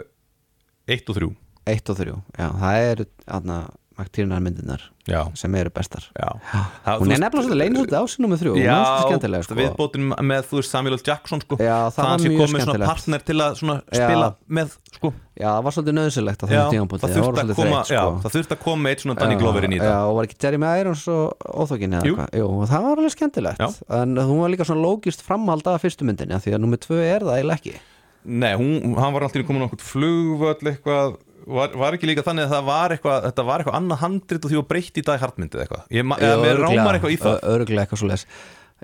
S1: 1 og 3
S3: 1 og 3, já, það eru aðna Magtírunar myndinar
S1: já,
S3: sem eru bestar
S1: já
S3: Já, Hún er nefnilega svolítið leynir svolítið á sínum með þrjú Hún er svolítið skemmtilega sko
S1: viðbótin með þú veist Samuel L. Jackson sko.
S3: Já, það var
S1: hann sé
S3: mjög
S1: komið svona
S3: skemmtilegt.
S1: partner til að svona
S3: Já.
S1: spila með sko.
S3: Já, það var svolítið nöðsilegt á
S1: já,
S3: þessum tímanbúti
S1: það þurfti að koma já, það þurfti að koma eitt svona Danny Glover inn í
S3: sko. Já,
S1: þetta
S3: og var ekki Jeremy Irons og óþókin eða
S1: Jú.
S3: eitthvað Jú, og það var alveg skemmtilegt
S1: Já.
S3: En hún var líka svona lógist framhald af fyrstu myndinni af Því að nummer tvö er það eiginlega ekki
S1: nei, hún, hann var alltaf komin á okkur flugvöll eitthvað Var, var ekki líka þannig að það var eitthvað þetta var eitthvað annað handrit og því var breytt í dag hartmyndið eitthvað ég, ma- eða
S3: Jú,
S1: með
S3: örugglega.
S1: rámar eitthvað í það
S3: Ö- Örugglega eitthvað svoleiðis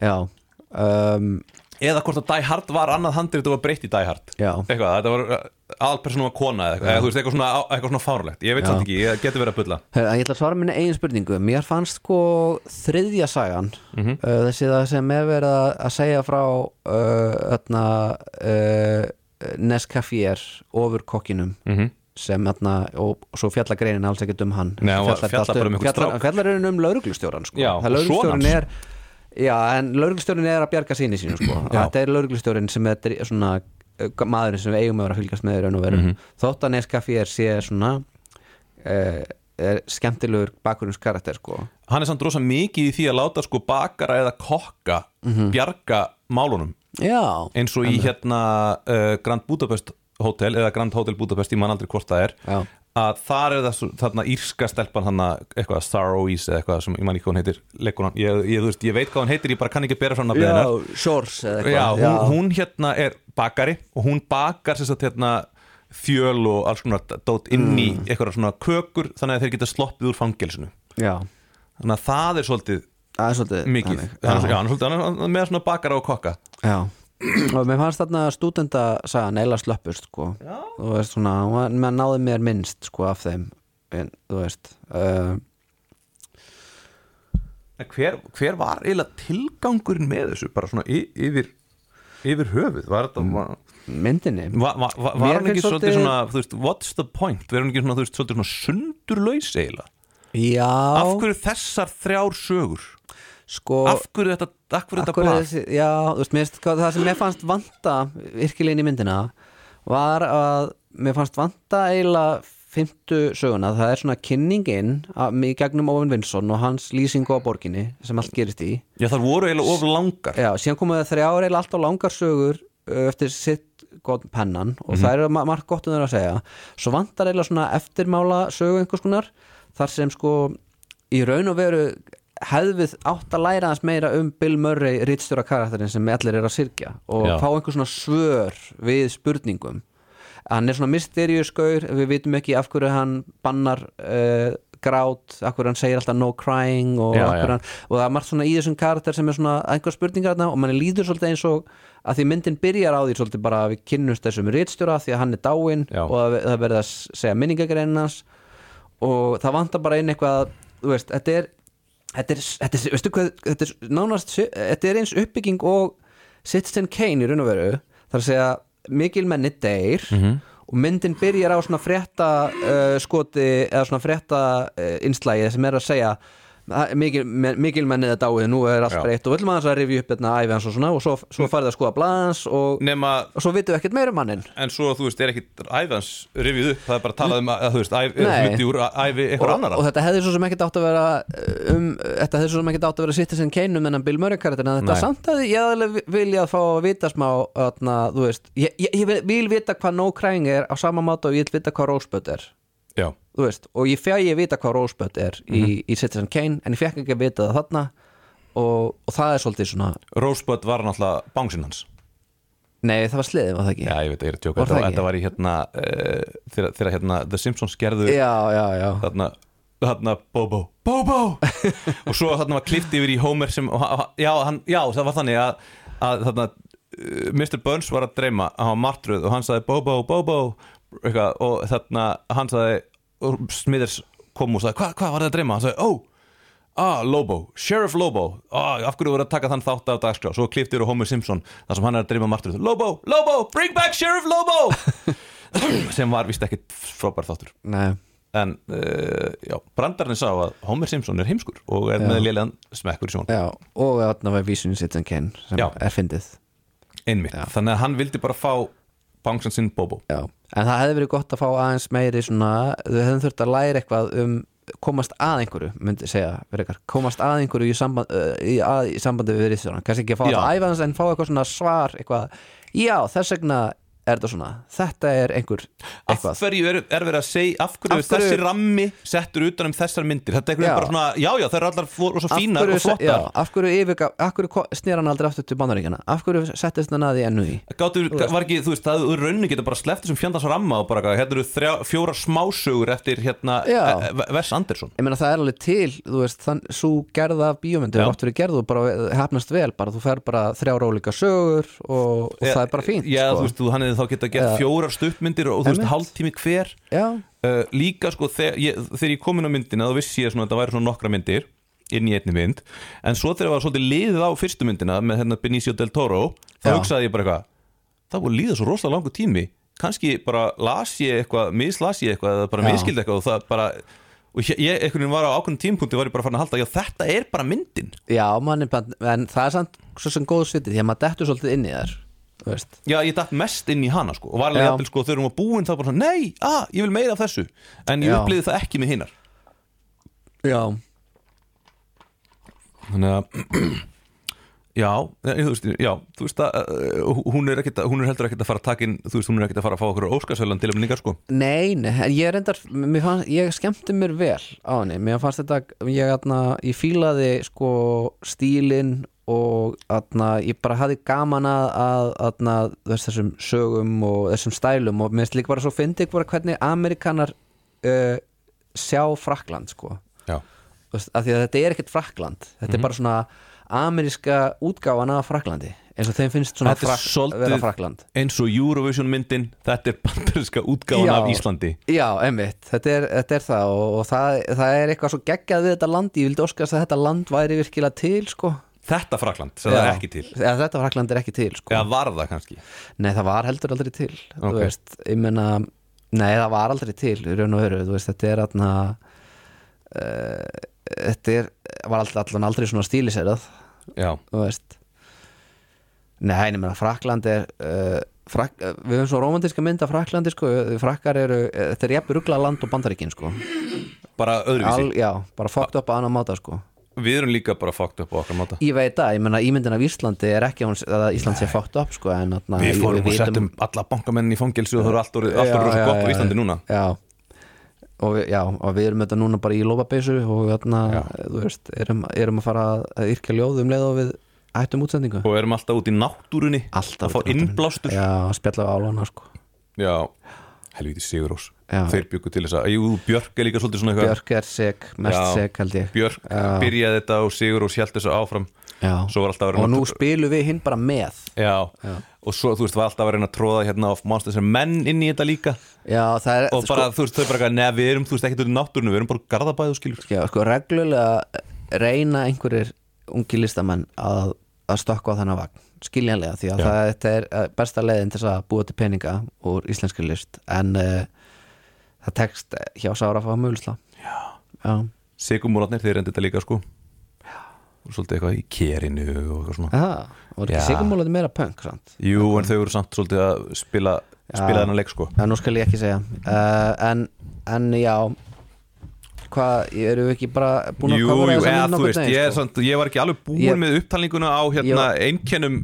S3: Já um,
S1: eða hvort að Die Hard var annað handrit og var breytt í Die Hard
S3: Já.
S1: eitthvað, þetta var aðalpersonum að kona eða eitthvað, eða, þú veist, eitthvað, svona, eitthvað svona fárlegt ég veit
S3: Já.
S1: samt ekki, ég getur verið að bulla
S3: Herra, Ég ætla að svara minni eigin spurningu Mér fannst sko þriðja sagan mm
S1: Mhm.
S3: þessi það sem er verið að að segja frá uh, öðna, uh, Nescafér ofur kokkinum
S1: Mhm.
S3: -hmm. sem öðna, og, og svo fjallar greinin alls ekkert um hann
S1: Nei, hún var-
S3: Fjallar
S1: fjallar
S3: allt
S1: bara um einhvern
S3: fjallar-
S1: strák.
S3: Fjallar er um lauruglustjóran sko.
S1: Já,
S3: Það
S1: og son
S3: lögreglustjórinn
S1: hans.
S3: er Já, en lauruglustjórin er að bjarga síni sínu sko.
S1: Já.
S3: Þetta er lauruglustjórin sem þetta er svona uh, maðurinn sem við eigum að vera að fylgjast með í raun og veru
S1: Mhm.
S3: Þótt að Nescafér sé svona uh, er skemmtilegur bakgrunns karakter sko.
S1: hann er samt rosa mikið í því að láta sko bakara eða kokka bjarga málunum
S3: Já
S1: eins og í hérna uh, Grand Budapest Hotel eða Grand Hotel Budapest, ég man aldrei hvort það er
S3: Já.
S1: að þar er það svo- þarna írska stelpan þarna eitthvað Star Oise eða eitthvað sem ég man ekki hvað hún heitir leikur hann, ég, ég, þú veist, ég veit hvað hún heitir, ég bara kann ekki bera frá hann að beða hennar
S3: Shores eða
S1: Já,
S3: eitthvað
S1: hún, hún hérna er bakari og hún bakar sem sagt hérna fjöl og alls konar dót inn í eitthvað svona kökur þannig að þeir geta sloppið úr fangelsinu
S3: Já,
S1: þannig að það er svolítið
S3: það er svolítið
S1: mikið
S3: þannig.
S1: hann, já, hann, er svolítið- hann er með svona bakara og kokka
S3: Já Og mér fannst þarna stúdenda sagði hann eila slöppust sko. Þú veist svona, maður náði mér minnst sko af þeim en, Þú veist uh,
S1: En hver, hver var eiginlega tilgangurinn með þessu bara svona y- yfir yfir höfuð var, þetta, var,
S3: myndinni
S1: var, var, var,
S3: Mér
S1: var hann ekki
S3: finnst
S1: Mm. svolítið
S3: svolítið-
S1: svona þú veist, what's the point, verður hann ekki svona, þú veist, svolítið svona sundurlaus eiginlega
S3: Já
S1: af hverju þessar þrjár sögur
S3: sko,
S1: af hverju þetta, af hverju
S3: Af
S1: þetta
S3: hverju
S1: blað
S3: þessi, já, þú veist, mér, finnst hvað- það sem mér fannst vanta virkilegin í myndina var að mér fannst vanta eiginlega fymtu söguna, það er svona kynningin að, í gegnum Owen Vinson og hans lýsingu á borginni sem allt gerist í
S1: Já, þar voru eiginlega of langar
S3: Já, síðan komu það þrjár eða alltaf langar sögur ö, eftir sitt gott pennan og
S1: Mhm.
S3: það eru ma- margt gott um þeirra að segja svo vantar eiginlega svona eftirmála sögu einhvers konar þar sem sko í raun og veru hefði við átt að læra aðeins meira um Bill Murray rittstjóra karakterinn sem allir er að syrkja og
S1: Já.
S3: fá einhvers svona svör við spurningum hann er svona mysteriuskaur við vitum ekki af hverju hann bannar uh, grát, af hverju hann segir alltaf no crying og,
S1: Já,
S3: af hverju
S1: já.
S3: hann, og það er margt svona í þessum karakter sem er svona einhver spurningar þarna og manni líður svolítið eins og að því myndin byrjar á því svolítið bara að við kynnumst þessum rítstjóra því að hann er dáinn
S1: Já.
S3: og að það verða að segja minningagreinans og það vantar bara inn eitthvað þú veist, þetta er þetta er, þetta er, veistu hvað, þetta er nánast þetta er eins uppbygging og Citizen Kane í raun og veru þar að segja mikil menni deyr og myndin byrjar á svona frétta uh, skoti eða svona frétta uh, inslægi sem er að segja "Ah, mikil, me- mikil mennið er dáið, nú er allt
S1: Já.
S3: breytt og við viljum aðeins að rifja upp hérna æfi hans og svona og svo, svo farið að skoða blaðans og,
S1: Nema,
S3: og svo vitum við ekkert meira um manninn
S1: en svo, þú veist, er ekkit æfans rifið upp Það er bara talað um að, þú veist, æfi,
S3: Nei.
S1: hluti úr æfi
S3: og,
S1: einhver annara
S3: og þetta hefði svo sem ekkert átt að vera um, þetta hefði svo sem ekkert átt að vera Citizen Kane um hennan Bill Murray karakterin að þetta
S1: Nei.
S3: samt að ég alveg vilja að fá að vita smá öðna, þú veist, ég, ég, ég vil- vil vita hvað No Crying er á sama máta og ég vil vita hvað Rosebud er
S1: Já,
S3: þú veist, og ég fæ ég vita hvað Rosebud er
S1: Mhm.
S3: í, í Citizen Kane en ég fekk ekki að vita það þarna og, og það er svolítið svona
S1: Rosebud var náttúrulega bánsinn hans
S3: nei það var sliðið var það ekki
S1: Já, ég veit, ég er að tjóka
S3: Var
S1: Þetta
S3: það
S1: var,
S3: ekki?
S1: þetta var í hérna, uh, þegar, þegar hérna The Simpsons gerðu
S3: já, já, já.
S1: þarna, þarna Bobo Bobo! og svo þarna var klift yfir í Homer sem, og ha- ha- já, hann, já, það var þannig að, að þarna, eh, Mr. Burns var að dreyma hann var martröð og hann sagði Bobo, Bobo eitthvað, og þarna hann sagði, og Smithers kom og sagði, hvað hva var það að dreyma? Hann sagði, ó Ah, Lobo, Sheriff Lobo ah, Af hverju voru að taka þann þátt af dagskrá Svo klift yfir á Homer Simpson þar sem hann er að dreyma martröð Lobo, Lobo, bring back Sheriff Lobo sem var vist ekki frábær þáttur
S3: Nei.
S1: en uh, já, brandarinn sá að Homer Simpson er heimskur og er
S3: Já.
S1: með lélegan smekkur í sjón
S3: já og þarna var vísun í Citizen Kane sem
S1: Já.
S3: er fyndið
S1: einmitt, þannig að hann vildi bara fá bangsan sinn Bobo
S3: Já, en það hefði verið gott að fá aðeins meiri svona, þau hefðum þurft að læra eitthvað um komast að einhverju myndi segja, verið komast að einhverju í, samband, uh, í, að, í sambandi við riðstjóran kannski ekki að fá
S1: Já.
S3: þetta æfans en fá eitthvað svona svar eitthvað, já þess vegna er þetta svona, þetta er einhver
S1: af
S3: eitthvað,
S1: hverju er, er verið að segja af hverju,
S3: Af hverju-
S1: þessi rammi settur utan um þessar myndir þetta er einhvern
S3: Já.
S1: veginn bara svona, já já, það er allar fór, og svo fínar og
S3: já,
S1: flottar
S3: af hverju, yfirga, af hverju ko- sneri hann aldrei aftur til bandaríkjana af hverju settist hann að því ennu í
S1: Gáttu, var ekki, þú veist, það er raunin geta bara sleppt þessum fjandans ramma og bara, hérna eru þrjá, fjóra smásögur eftir hérna
S3: Já.
S1: eh, eh, Wes Anderson
S3: ég meina það er alveg til, þú veist þann, svo gerða bíómyndu,
S1: Já.
S3: oft verið gerð og bara hefnast vel, bara þú fer bara þrjár ólíka sögur og, og það er bara fínt
S1: E, Já,
S3: sko.
S1: þú veist, þú- hann hefði þá geta gett fjórar stuttmyndir og þú veist, hálftími hver
S3: já,
S1: uh, líka sko þegar ég, þegar ég kom inn á myndina þá vissi ég svona að þetta væri svona nokkra myndir inn í einni mynd en svo þegar það var svolítið liðið á fyrstu myndina með hérna Benicio del Toro þá
S3: Já.
S1: hugsaði ég bara eitthvað það voru líða svo rosalega langur tími kannski bara las ég eitthvað, mislas ég eitthvað eða bara
S3: Já.
S1: miskildi eitthvað og það bara og ég, ég einhvern veginn var á ákveðnum tímpunkti var ég bara farin að halda, já þetta er bara myndin
S3: já mann er bara en það er samt svo sem góð svitið því að maður dettur svolítið inn í þær þú veist,
S1: já ég datt mest inn í hana sko og var alveg
S3: Já.
S1: jafnvel sko þegar hún var búin þá bara svona, nei, ah, ég vil meira af þessu en ég
S3: Já.
S1: upplýði það ekki með hinnar
S3: já,
S1: þannig að já, nei, þú veist, já, þú veist að uh, hún er, ekkit, hún er heldur ekkert að fara að taka inn þú veist, hún er ekkert að fara að fá okkur óskarsvelan til að minningar sko
S3: nei, nei en ég reyndar, mér fannst, ég skemmti mér vel á henni, mér fannst þetta ég, atna, ég fílaði sko stílinn og atna, ég bara hafði gaman að, að atna, veist, þessum sögum og þessum stælum og mér finnst líka bara svo fyndi bara hvernig Amerikanar uh, sjá Frakland sko
S1: já,
S3: Þú veist, af því að þetta er ekkert Frakland þetta er
S1: Mhm.
S3: bara svona ameríska útgáfan af Fraklandi eins og þeim finnst svona
S1: Þetta er
S3: frak,
S1: svolítið-
S3: vera Frakland
S1: eins og Eurovision myndin þetta er bandarinska útgáfan
S3: Já.
S1: af Íslandi
S3: Já, emmitt, þetta er, þetta er það og, og það, það er eitthvað svo geggjað við þetta land ég vildi óskast að þetta land væri virkilega til sko.
S1: þetta Frakland, sem það er ekki til
S3: Eða, Þetta Frakland er ekki til sko.
S1: eða var það kannski
S3: Nei, það var heldur aldrei til þú
S1: Ok.
S3: veist, ég meina Nei, það var aldrei til, í raun og veru þú veist, þetta er atna, uh, þetta er, var all- allan aldrei svona stíliserað
S1: já,
S3: þú veist Nei, ég meina, Frakland er uh, Frak, eh, við höfum svo romantíska mynd af Fraklandi sko, eh, frakkar eru, eh, þetta er jafn ruggla land og bandaríkin sko
S1: bara öðruvísi,
S3: Al, já, bara fókt upp að annan máta sko
S1: við erum líka bara fucked up á okkar máta
S3: Ég veit það, ég menna ímyndin af Íslandi er ekki hún, að Ísland sé fókt upp sko en atna,
S1: Við fórum og settum alla bankamennin í fangelsi og það eru allt orðið, allt orðið rosa gott á Íslandi núna
S3: Já Og við, já, og við erum þetta núna bara í lópabeysu og þarna, þú veist, erum, erum að fara að yrkja ljóð um leið og við hættum útsendingu
S1: og erum alltaf út í náttúrunni
S3: Alltaf
S1: að fá
S3: út í náttúrunni.
S1: innblástur
S3: Já, að spjalla við álana sko
S1: Já, helviti Sigurós
S3: Já.
S1: Þeir byggu til þess að, jú, Björk er líka svolítið svona eitthvað
S3: Björk er seg, mest
S1: Já.
S3: seg held ég
S1: Björk byrjaði þetta og Sigurós held þess að áfram
S3: Já.
S1: Svo var alltaf að
S3: og
S1: vera
S3: nú spilum við hinn bara með
S1: Já. og svo þú veist, var alltaf að reyna að tróða hérna á Monsters and Men inn í þetta líka
S3: já það er sko,
S1: og bara, þú veist, þau bara, eitthvað, nei, við erum, þú veist, ekkert út í náttúrunni, við erum bara garðabæðu skilur
S3: sko, já, sko reglulega reyna einhverjir ungi listamenn að, að stokka á þennan vagn skiljanlega því að það, þetta er eh, besta leiðin til þess að búa til peninga úr íslenskri list en uh, það tekst hjá Sára að fá mjölusla já, já.
S1: Sigurmúlarnir, þeir reyndi þetta líka, sko og svolítið eitthvað í kerinu og eitthvað svona
S3: Aha, og
S1: Já.
S3: ekki sigurmúlandi meira punk sant?
S1: Jú, en þau eru samt svolítið að spila spila þennan leik, sko
S3: já, nú skal ég ekki segja uh, en, en já hvað, eru við ekki bara búin að
S1: Jú,
S3: kofra
S1: jú,
S3: þessa
S1: eða
S3: mynd
S1: þú
S3: nokkurn
S1: veist,
S3: veginn,
S1: ég, er
S3: sko?
S1: samt, ég var ekki alveg búin
S3: Ég-
S1: með upptalninguna á hérna einkennum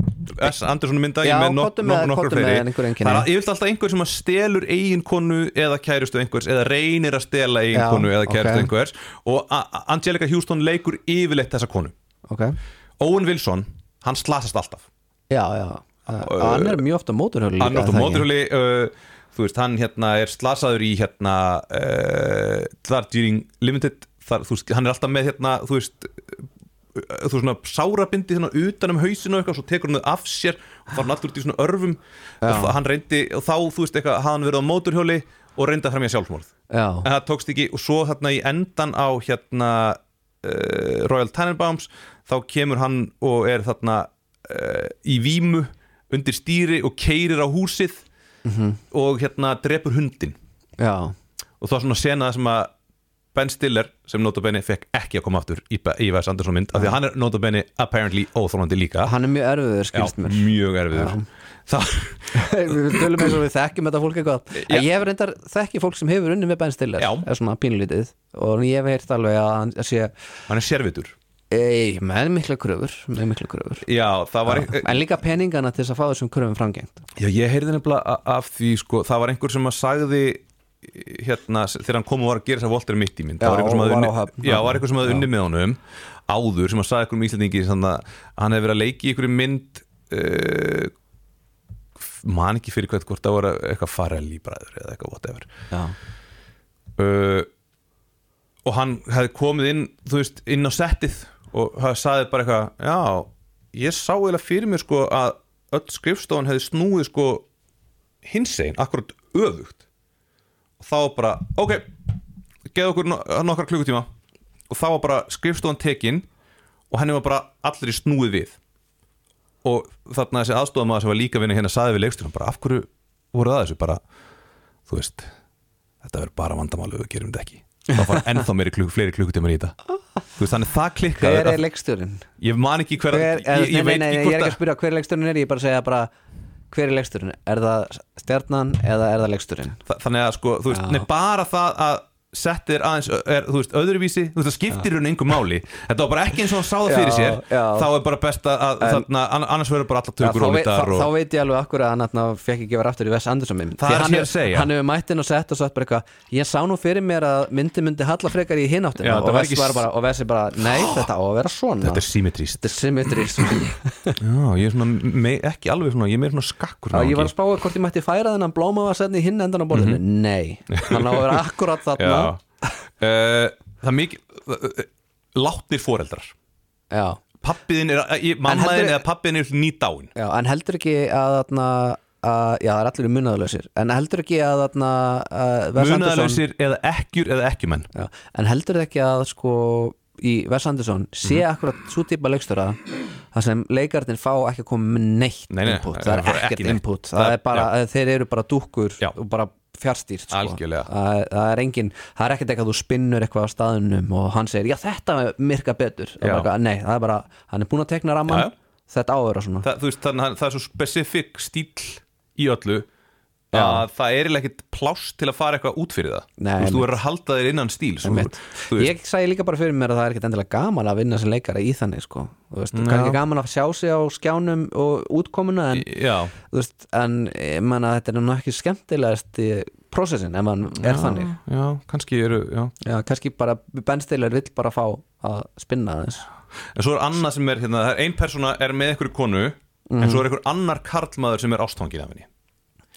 S1: S. Andersson mynda
S3: Já,
S1: ég með nok
S3: komdu
S1: nok
S3: með-
S1: nokkur
S3: komdu með
S1: fleiri
S3: einhver einkenni.
S1: Það er yfirleitt alltaf einhver sem að stelur eiginkonu eða kærustu einhvers eða reynir að stela eiginkonu
S3: Já,
S1: eða kærustu
S3: ok.
S1: einhvers og A- A- Angelica Houston leikur yfirleitt þessa konu
S3: ok
S1: Owen Wilson, hann slasast alltaf
S3: Já, já, uh, hann er mjög ofta móturhjóli
S1: hann er á móturhjóli uh, þú veist, hann hérna er slasaður í hérna uh, þar dýring limited þar, þú veist, hann er alltaf með hérna þú veist uh, þú veist svona sárabindi hérna utan um hausinu og eitthvað, svo tekur hann það af sér og fara hann allur út í svona örfum og það- hann reyndi, og þá þú veist eitthvað, hafði hann verið á móturhjóli og reyndi að fremja sjálfsmorð
S3: Já,
S1: en það tókst ekki og svo hérna í endan á hérna uh, Royal Tannenbaums þá kemur hann og er þarna uh, í vímu undir stýri og keirir á húsið og hérna drepur hundin
S3: já,
S1: og það er svona sena sem að Ben Stiller sem notabene fekk ekki að koma aftur í, í Wes Anderson mynd af því að hann er notabene apparently óþólandi líka
S3: hann er mjög erfiður
S1: Já,
S3: skilst mér
S1: mjög erfiður það,
S3: Við tölum eins og við þekkjum þetta fólk eitthvað
S1: Já.
S3: En Ég hef reyndar þekki fólk sem hefur unni með Ben Stiller
S1: Já.
S3: er svona pínlítið og ég hef heyrt alveg að hann sé
S1: hann er sérvitur
S3: Ei, með mikla kröfur, með mikla kröfur
S1: Já, það var e-
S3: En líka peningana til þess að fá þessum kröfum framgengt
S1: Já, ég heyrði nefnilega a- af því sko, það var einhver sem að sagði hérna, s- þegar hann kom og var að gera þess að Walter Mitty mynd,
S3: Já,
S1: það var einhver sem að
S3: og var
S1: unni,
S3: á höfn.
S1: já, var einhver sem að unni með honum áður sem að sagði einhverjum íslendingi þannig að hann hefði verið að leiki einhverju mynd uh, man ekki fyrir hvað hvort það var eitthvað farelli bræður eða eitthvað whatever
S3: Já,
S1: uh, og hann hefði komið inn þú veist, inn á settið og hann sagði bara eitthvað já, ég sá eða fyrir mér sko að öll skrifstofan hefði snúið sko hinsegin, akkurat öfugt og þá var bara, ok geða okkur no nokkar klukkutíma og þá var bara skrifstofan tekin og henni var bara allir í snúið við og þarna þessi aðstofamaður sem var líka vinni hérna saði við leikstunum bara af hverju voru það þessu bara þú veist, þetta verður bara vandamál ef við gerum þetta ekki þá fara ennþá meiri klukk, fleiri klukkutímar í þetta þú veist, þannig það klikkað
S3: hver er
S1: að-
S3: leikstjórinn?
S1: ég man ekki hver,
S3: Hver,
S1: ég, ég, ég
S3: nei, nei,
S1: veit
S3: nei,
S1: ekki hvort
S3: ég er ekki að
S1: að
S3: spyrja hver leikstjórinn er, ég er bara að segja bara Hver er leikstjórinn? Er það stjarnan eða er það leikstjórinn?
S1: Þa- þannig að sko, þú veist, nei, bara það að settir aðeins, er, þú veist, öðruvísi þú veist, það skiptir hún einhver máli þetta var bara ekki eins og hann sá það fyrir
S3: Já,
S1: sér
S3: já.
S1: þá er bara best að, að þarna, ann- annars verður bara allar
S3: Já,
S1: tökur
S3: þá,
S1: og
S3: veit, þá,
S1: litar
S3: þá
S1: og
S3: veit ég alveg akkur að hann atna, fekk ekki vera aftur í Wes Anderson mynd
S1: Það
S3: Því
S1: er
S3: hann
S1: sem ég
S3: hefur-
S1: er að segja.
S3: Hann hefur mættin og sett og sagt bara eitthvað Ég sá nú fyrir mér að myndi myndi halla frekar í
S1: Já,
S3: hináttina
S1: það
S3: og,
S1: var
S3: Wes
S1: ekki
S3: var
S1: s-
S3: bara, og Wes er bara Nei, þetta á að vera svona
S1: þetta er symmetrist
S3: Þetta er symmetrist
S1: já, ég er svona, me, ekki alveg svona, ég er meira svona skakkur
S3: Ég var
S1: náungi.
S3: að spáa hvort ég mætti færa þennan blóma að setna í hinn endan á borðinu Nei, hann á að vera akkurat þarna
S1: Mhm. Já. Eh, það er mikið eh, látnir foreldrar
S3: Já.
S1: pappiðin er, ég- mamma
S3: heldur-
S1: þín eða pappiðin er nýdáin
S3: Já, en heldur ekki að, atna, að Já, það er allir munaðalösir En heldur ekki að, atna, að Wes Anderson-
S1: munaðalausir eða ekkjur eða ekkjumenn
S3: Já, en heldur þið ekki að sko í Wes Anderson sé
S1: Mhm.
S3: akkurat svo típa leikstöra þar sem leikarnir fá ekki að koma með neitt
S1: Nei, nei,
S3: input,
S1: það
S3: það
S1: er
S3: er
S1: bara ekki
S3: ekkert
S1: neitt.
S3: input það,
S1: Það-
S3: er bara, þeir eru bara dúkkur
S1: Já.
S3: og bara fjárstýrt sko.
S1: Algjörlega.
S3: það, það er engin, það er ekkert eitthvað að þú spinnur eitthvað á staðunum og hann segir, já þetta mirka betur, það
S1: Já.
S3: er bara, eitthvað, nei, það er bara hann er búin að tekna
S1: Já,
S3: ramman,
S1: já.
S3: þetta á að vera svona
S1: það, þú veist, þannig, að það er svo specifik stíl í öllu að það er eiginlega ekkit pláss til að fara eitthvað út fyrir það
S3: Nei,
S1: þú veist, þú verður að halda þér innan stíl svo,
S3: Einmitt.
S1: þú veist,
S3: Ég sagði líka bara fyrir mér að það er ekkert endilega gaman að vinna sem leikari í þannig sko Þú veist, kannski gaman að sjá sig á skjánum og útkomuna en,
S1: já,
S3: þú veist, en eh, ég man að þetta er nú ekki skemmtilegast í prósessin ef mann er þannig
S1: já, kannski eru, já
S3: Já, kannski bara Ben Stiller vill bara fá að spinna þess
S1: En svo er annað sem er hérna, það er ein persóna er með einhverju konu
S3: Mhm.
S1: En svo er einhver annar karlmaður sem er ástfangin af henni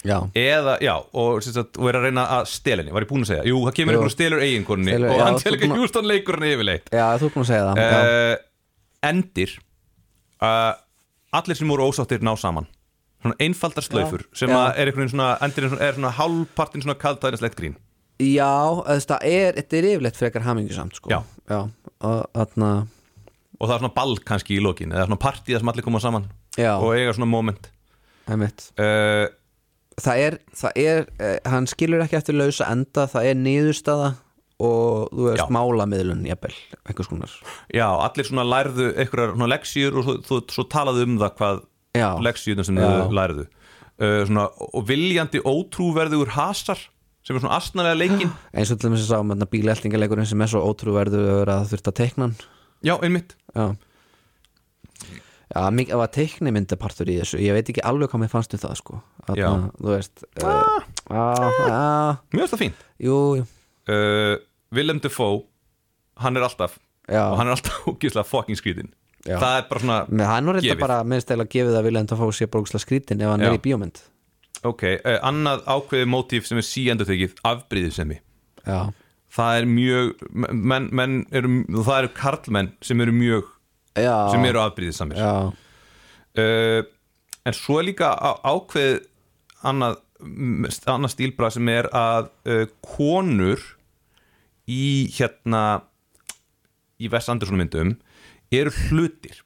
S3: Já,
S1: Eða, já, og, sem sagt, og er að reyna að stela henni Var ég búin að segja, jú, það kemur
S3: Jú.
S1: einhver og stelur eiginkonunni
S3: Stelur-
S1: Og
S3: já,
S1: hann
S3: þú
S1: telur ekki
S3: búin að-
S1: hjústan leikur henni yfirleitt
S3: já þú erum að segja það já.
S1: uh, Endir uh, Allir sem voru ósáttir ná saman Svona einfaldar slaufur Sem
S3: Já.
S1: að er einhvern veginn svona, endirinn svona- er svona hálfpartinn svona kaldæðinslegt grín
S3: já, þú veist, það er, þetta er yfirleitt frekar hamingjusamt sko
S1: Já.
S3: já og þarna
S1: Og það er svona ball kannski í lokin Eða svona partíða sem allir koma saman
S3: Já.
S1: Og eiga svona moment
S3: Einmitt.
S1: uh,
S3: það er, það er eh, hann skilur ekki eftir lausa enda það er niðurstaða og þú veist
S1: Já.
S3: málamiðlun jafnvel, einhvers konar
S1: Já, allir svona lærðu einhverjar svona leksíur og svo, svo, svo talaðu um það hvað
S3: Já.
S1: leksíurna sem
S3: Já.
S1: þau lærðu uh, svona, og viljandi ótrúverðugur hasar sem er svona astnalega leikin
S3: eins og til þess að sá bíleltingaleikurinn sem er svo ótrúverður að þurft að teikna hann
S1: Já, einmitt
S3: já Já, mikið það var teiknimyndapartur í þessu Ég veit ekki alveg hvað mér fannst um það sko Þarna,
S1: Já.
S3: Þú veist uh, ah, ah,
S1: Mjög þetta fínt
S3: Jú, jú
S1: uh, Willem Dafoe, hann er alltaf
S3: Já.
S1: og hann er alltaf ógeðslega fucking skrítin
S3: Já.
S1: Það er bara svona,
S3: Með hann var reynda
S1: Gefið.
S3: bara minnst eða gefið að vilja enda að fá sér bróksla skrítin ef hann
S1: Já.
S3: er í bíómynd
S1: ok, uh, annað ákveðið mótíf sem er síendur þykir afbríðisemi
S3: Já,
S1: Það er mjög, menn, menn eru, það eru karlmenn sem eru mjög,
S3: já,
S1: sem eru afbríðisamir
S3: já.
S1: uh, en svo er líka á- ákveð annað, mm, st- annað stílbra sem er að uh, konur í hérna í Vess Andersson myndum eru hlutir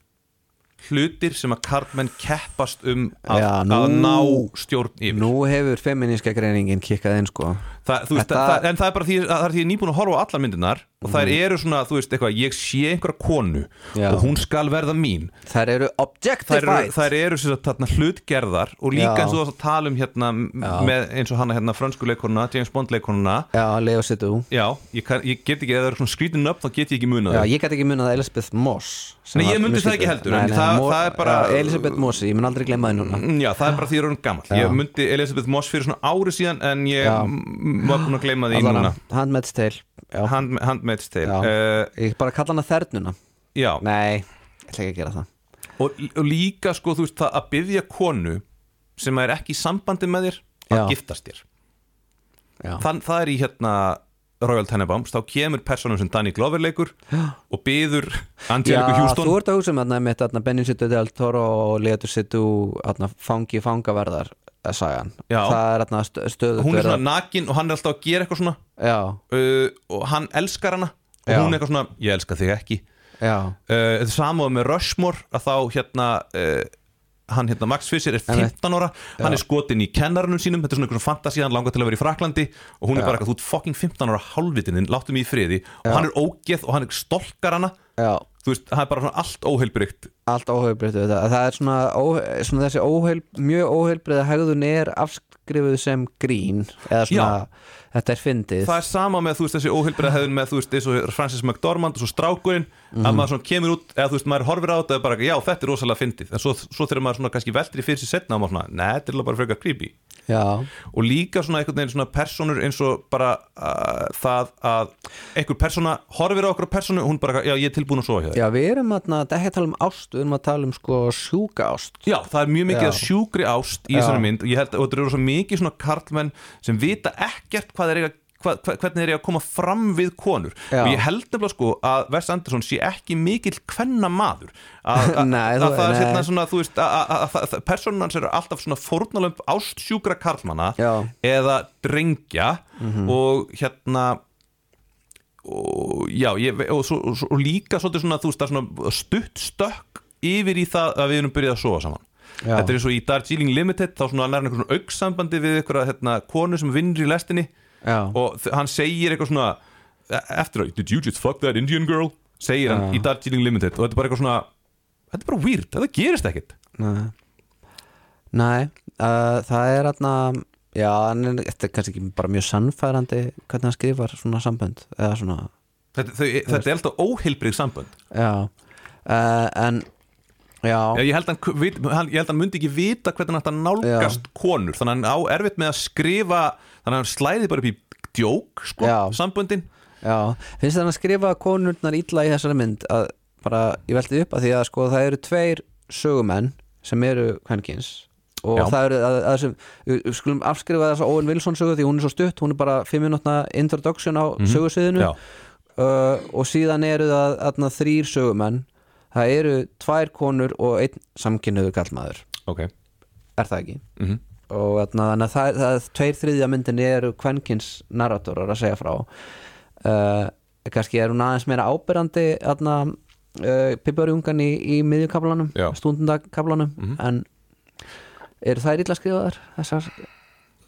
S1: hlutir sem að karlmenn keppast um að,
S3: Já, nú-
S1: að ná stjórn yfir
S3: Nú hefur feminíska greiningin kikkað inn sko
S1: það, þú veist,
S3: Þetta- Mhm.
S1: það, en það er bara því að það er því ég er nýbúin að horfa á allar myndirnar og þær eru svona, þú veist, eitthvað, ég sé einhverja konu
S3: Já.
S1: og hún skal verða mín
S3: Þær eru
S1: þær
S3: objectified
S1: eru, þær eru sem sagt, þarna, hlutgerðar og líka
S3: Já.
S1: eins og það að tala um hérna, m- með, eins og hana hérna, frönsku leikonuna, James Bond leikonuna
S3: Já, Leo Sidú
S1: já, ég, kann, ég get ekki, ef það eru svona skrítin nöfn þá get ég ekki munað
S3: Já,
S1: þau.
S3: ég gæti ekki munað að Elisabeth Moss sem
S1: Nei, ég
S3: var
S1: mundi það
S3: mistúlkuð.
S1: ekki heldur, en það- það er bara-
S3: já, Elisabeth Moss, ég mun aldrei glemma það núna
S1: Mm, já, það er bara því að það eru gammal ég
S3: Já.
S1: myndi Elisabeth Moss fyrir svona ári síðan en ég
S3: Já.
S1: m- var búin að gleyma því núna
S3: Handmaid's Tale já.
S1: Hand, Handmaid's Tale
S3: Já.
S1: já,
S3: Ég bara kalla hana þernuna
S1: já.
S3: Nei, ég ætla ekki að gera það
S1: Og, og líka sko, þú veist, það að byggja konu sem er ekki í sambandi með þér að
S3: Já.
S1: giftast þér
S3: Já.
S1: Þann, það er í hérna Royal Tenenbaums, þá kemur personum sem Danny Glover leikur og byður Angelica Houston
S3: þú ert að hugsa um þarna mitt þarna Benin Sidú del Toro og Leo Sidú þarna fangi fangaverðar eh, sagan
S1: Já.
S3: Það er þarna stö- stöðugt
S1: hún er
S3: verið
S1: svona nakin og hann er alltaf að gera eitthvað svona
S3: Já,
S1: uh, og hann elskar hana og
S3: Já.
S1: hún er eitthvað svona, ég elska þig ekki
S3: já
S1: uh, samáðu með Rushmore að þá hérna uh, hann hérna Max Fischer er 15 ára hann er skotin í kennarunum sínum þetta er svona einhverjum fantasía, hann langar til að vera í Fraklandi og hún er bara eitthvað, þú ert fucking 15 ára hálfvitinin láttu mig í friði og hann er ógeð og hann er stolkar hana
S3: Já,
S1: þú veist, hann er bara svona allt óheilbrygt
S3: allt óheilbreyttu þetta það er svona, ó, svona þessi óheil, mjög óheilbreyða hegðun er afskrifuð sem grín eða svona, þetta er fyndið
S1: það er sama með þú veist þessi óheilbryða hefðun með þú veist eins og Francis McDormand og svo strákurinn að maður svona kemur út eða þú veist maður horfir á þetta og er bara já þetta er rosalega fyndið en svo, svo þegar maður svona kannski veltir í fyrir sér setna og maður svona neða þetta er bara frekar creepy
S3: já,
S1: og líka svona einhvern veginn svona personur eins og bara uh, það að einhver persona horfir á okkur personu og hún bara, já ég er tilbúin að sofa hjá þér
S3: já, við erum þarna, þetta er ekki að tala um ást við erum að tala um sko sjúka ást
S1: Já, það er mjög mikið
S3: Já.
S1: að sjúkri ást í þessari mynd og ég held að og þetta eru svo mikið svona karlmenn sem vita ekkert hvað er eiga Hva, hva- hvernig er ég að koma fram við konur
S3: Já.
S1: og ég held nefnilega sko að Wes Anderson sé ekki mikill kvenna maður að, að,
S3: Nei,
S1: að
S3: þú-
S1: það er
S3: nei.
S1: hérna svona þú veist að, að, að, að, að personan hans eru alltaf svona fórnalömb ástsjúkra karlmanna
S3: Já. Mhm.
S1: eða drengja og hérna og, já, ég, og, svo, og, svo- og líka svolítið svona, þú veist, það er svona stutt stökk yfir í það að við erum byrjað að sofa saman
S3: Já.
S1: Þetta er eins og í Darjeeling Limited þá svona nærna einhvern auksambandi við einhverja hérna, konu sem vinnur í lestinni
S3: Já.
S1: og þ- hann segir eitthvað svona e- eftir að, did you just fuck that Indian girl? segir hann í Darjeeling Limited og þetta er bara eitthvað svona, þetta er bara weird, þetta gerist ekkit
S3: nei, nei uh, það er aðna já, hann er- þetta er kannski ekki bara mjög sannfærandi hvernig hann skrifar svona sambönd eða svona,
S1: Þetta, þau, þetta er alltaf óheilbrið sambönd
S3: já uh, en, já
S1: ég held, hann, vit- hann, ég held hann myndi ekki vita hvernig hann ætti að nálgast konur þannig að hann á erfitt með að skrifa þannig að hann slæði bara upp í djók sko,
S3: Já.
S1: samböndin
S3: Já, finnst þér hann að skrifa konurnar illa í þessari mynd að bara, ég velti upp að því að sko það eru tveir sögumenn sem eru kvenkins og
S1: Já.
S3: það eru að, að þessum, við við skulum afskrifa þessa Owen Wilson sögu því hún er svo stutt hún er bara 5 minútna introduction á mm sögusviðinu
S1: Mhm. Já.
S3: uh, Eh, og síðan eru það aðna, þrýr sögumenn það eru tvær konur og einn samkynnuður kallmaður
S1: ok
S3: er það ekki?
S1: Mhm.
S3: og þarna, þannig að það, það tveir þriðja myndin eru kvenkins narratorar að segja frá uh, kannski er hún aðeins meira ábyrrandi þarna uh, pipparjungan í, í miðjukablanum
S1: Já. Mhm.
S3: stundundakablanum en eru þær illa skrifaðar þessar uh,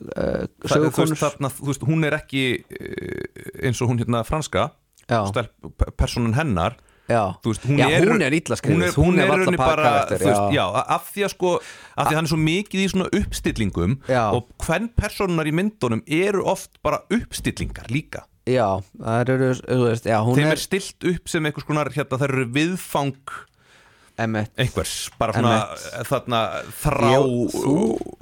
S1: Það, þú, veist,
S3: sögukonur
S1: þarna, þú veist, hún er ekki eh, eins og hún hérna franska
S3: Já.
S1: stelp, pe- personan hennar
S3: já.
S1: þú veist,
S3: já, hún er illa skrifað
S1: hún er, hún er,
S3: varla
S1: rauninni
S3: par
S1: bara,
S3: karakter,
S1: þú veist, já, af því að sko af því að hann er svo mikið í svona uppstillingum
S3: Já.
S1: og hvern personar í myndunum eru oft bara uppstillingar líka
S3: já, það eru þú veist, já, hún
S1: þeim
S3: er,
S1: er, stilt upp sem einhvers konar hérna, það eru viðfang
S3: einmitt
S1: einhvers, bara svona eh,
S3: Emmett.
S1: þarna þrá
S3: Já, þú,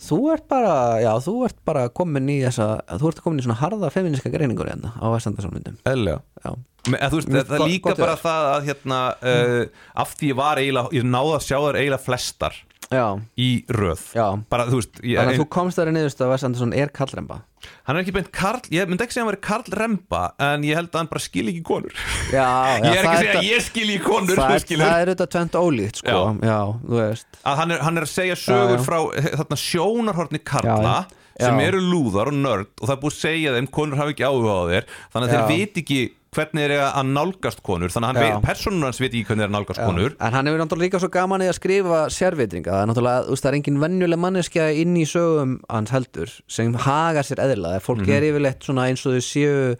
S3: þú ert bara já, þú ert bara komin í þessa þú ert komin í svona harða feministka greiningur hérna á Vestandarsálmyndum
S1: eðlega
S3: já,
S1: Me, að, þú veist,
S3: Mér
S1: það er
S3: gott-
S1: líka
S3: gott
S1: bara
S3: er.
S1: það að hérna, uh, af því ég var eiginlega, ég náði að sjá þær eiginlega flestar
S3: já,
S1: í röð
S3: já.
S1: bara þú veist, ég,
S3: þannig að þú komst þar í niðurstu að Vestandarsson er kallremba
S1: hann er ekki beint Karl, ég myndi ekki segja að hann veri Karl Remba en ég held að hann bara skil ekki konur
S3: já, já,
S1: ég er ekki
S3: það
S1: að segja
S3: þetta-
S1: að ég skil ekki konur
S3: það
S1: þú
S3: er,
S1: skilur.
S3: það er auðvitað tvent ólíkt sko.
S1: Já.
S3: já, þú veist
S1: að hann er, hann er að segja sögur
S3: Já, já.
S1: frá eh, þarna sjónarhorni Karla
S3: Já, já.
S1: sem
S3: Já.
S1: eru lúðar og nörd og það er búið að segja þeim konur hafa ekki áhuga á þér þannig að
S3: Já.
S1: þeir veit ekki hvernig er að nálgast konur þannig að
S3: Já.
S1: hann veit, personur hans veit ekki hvernig er að nálgast konur
S3: en hann hefur náttúrulega líka svo gaman í að skrifa sérvitringa, það er náttúrulega, þú veist, það er engin venjuleg manneskja inn í sögum hans heldur sem haga sér eðlilega, fólk
S1: Mhm.
S3: er yfirleitt svona eins og þau séu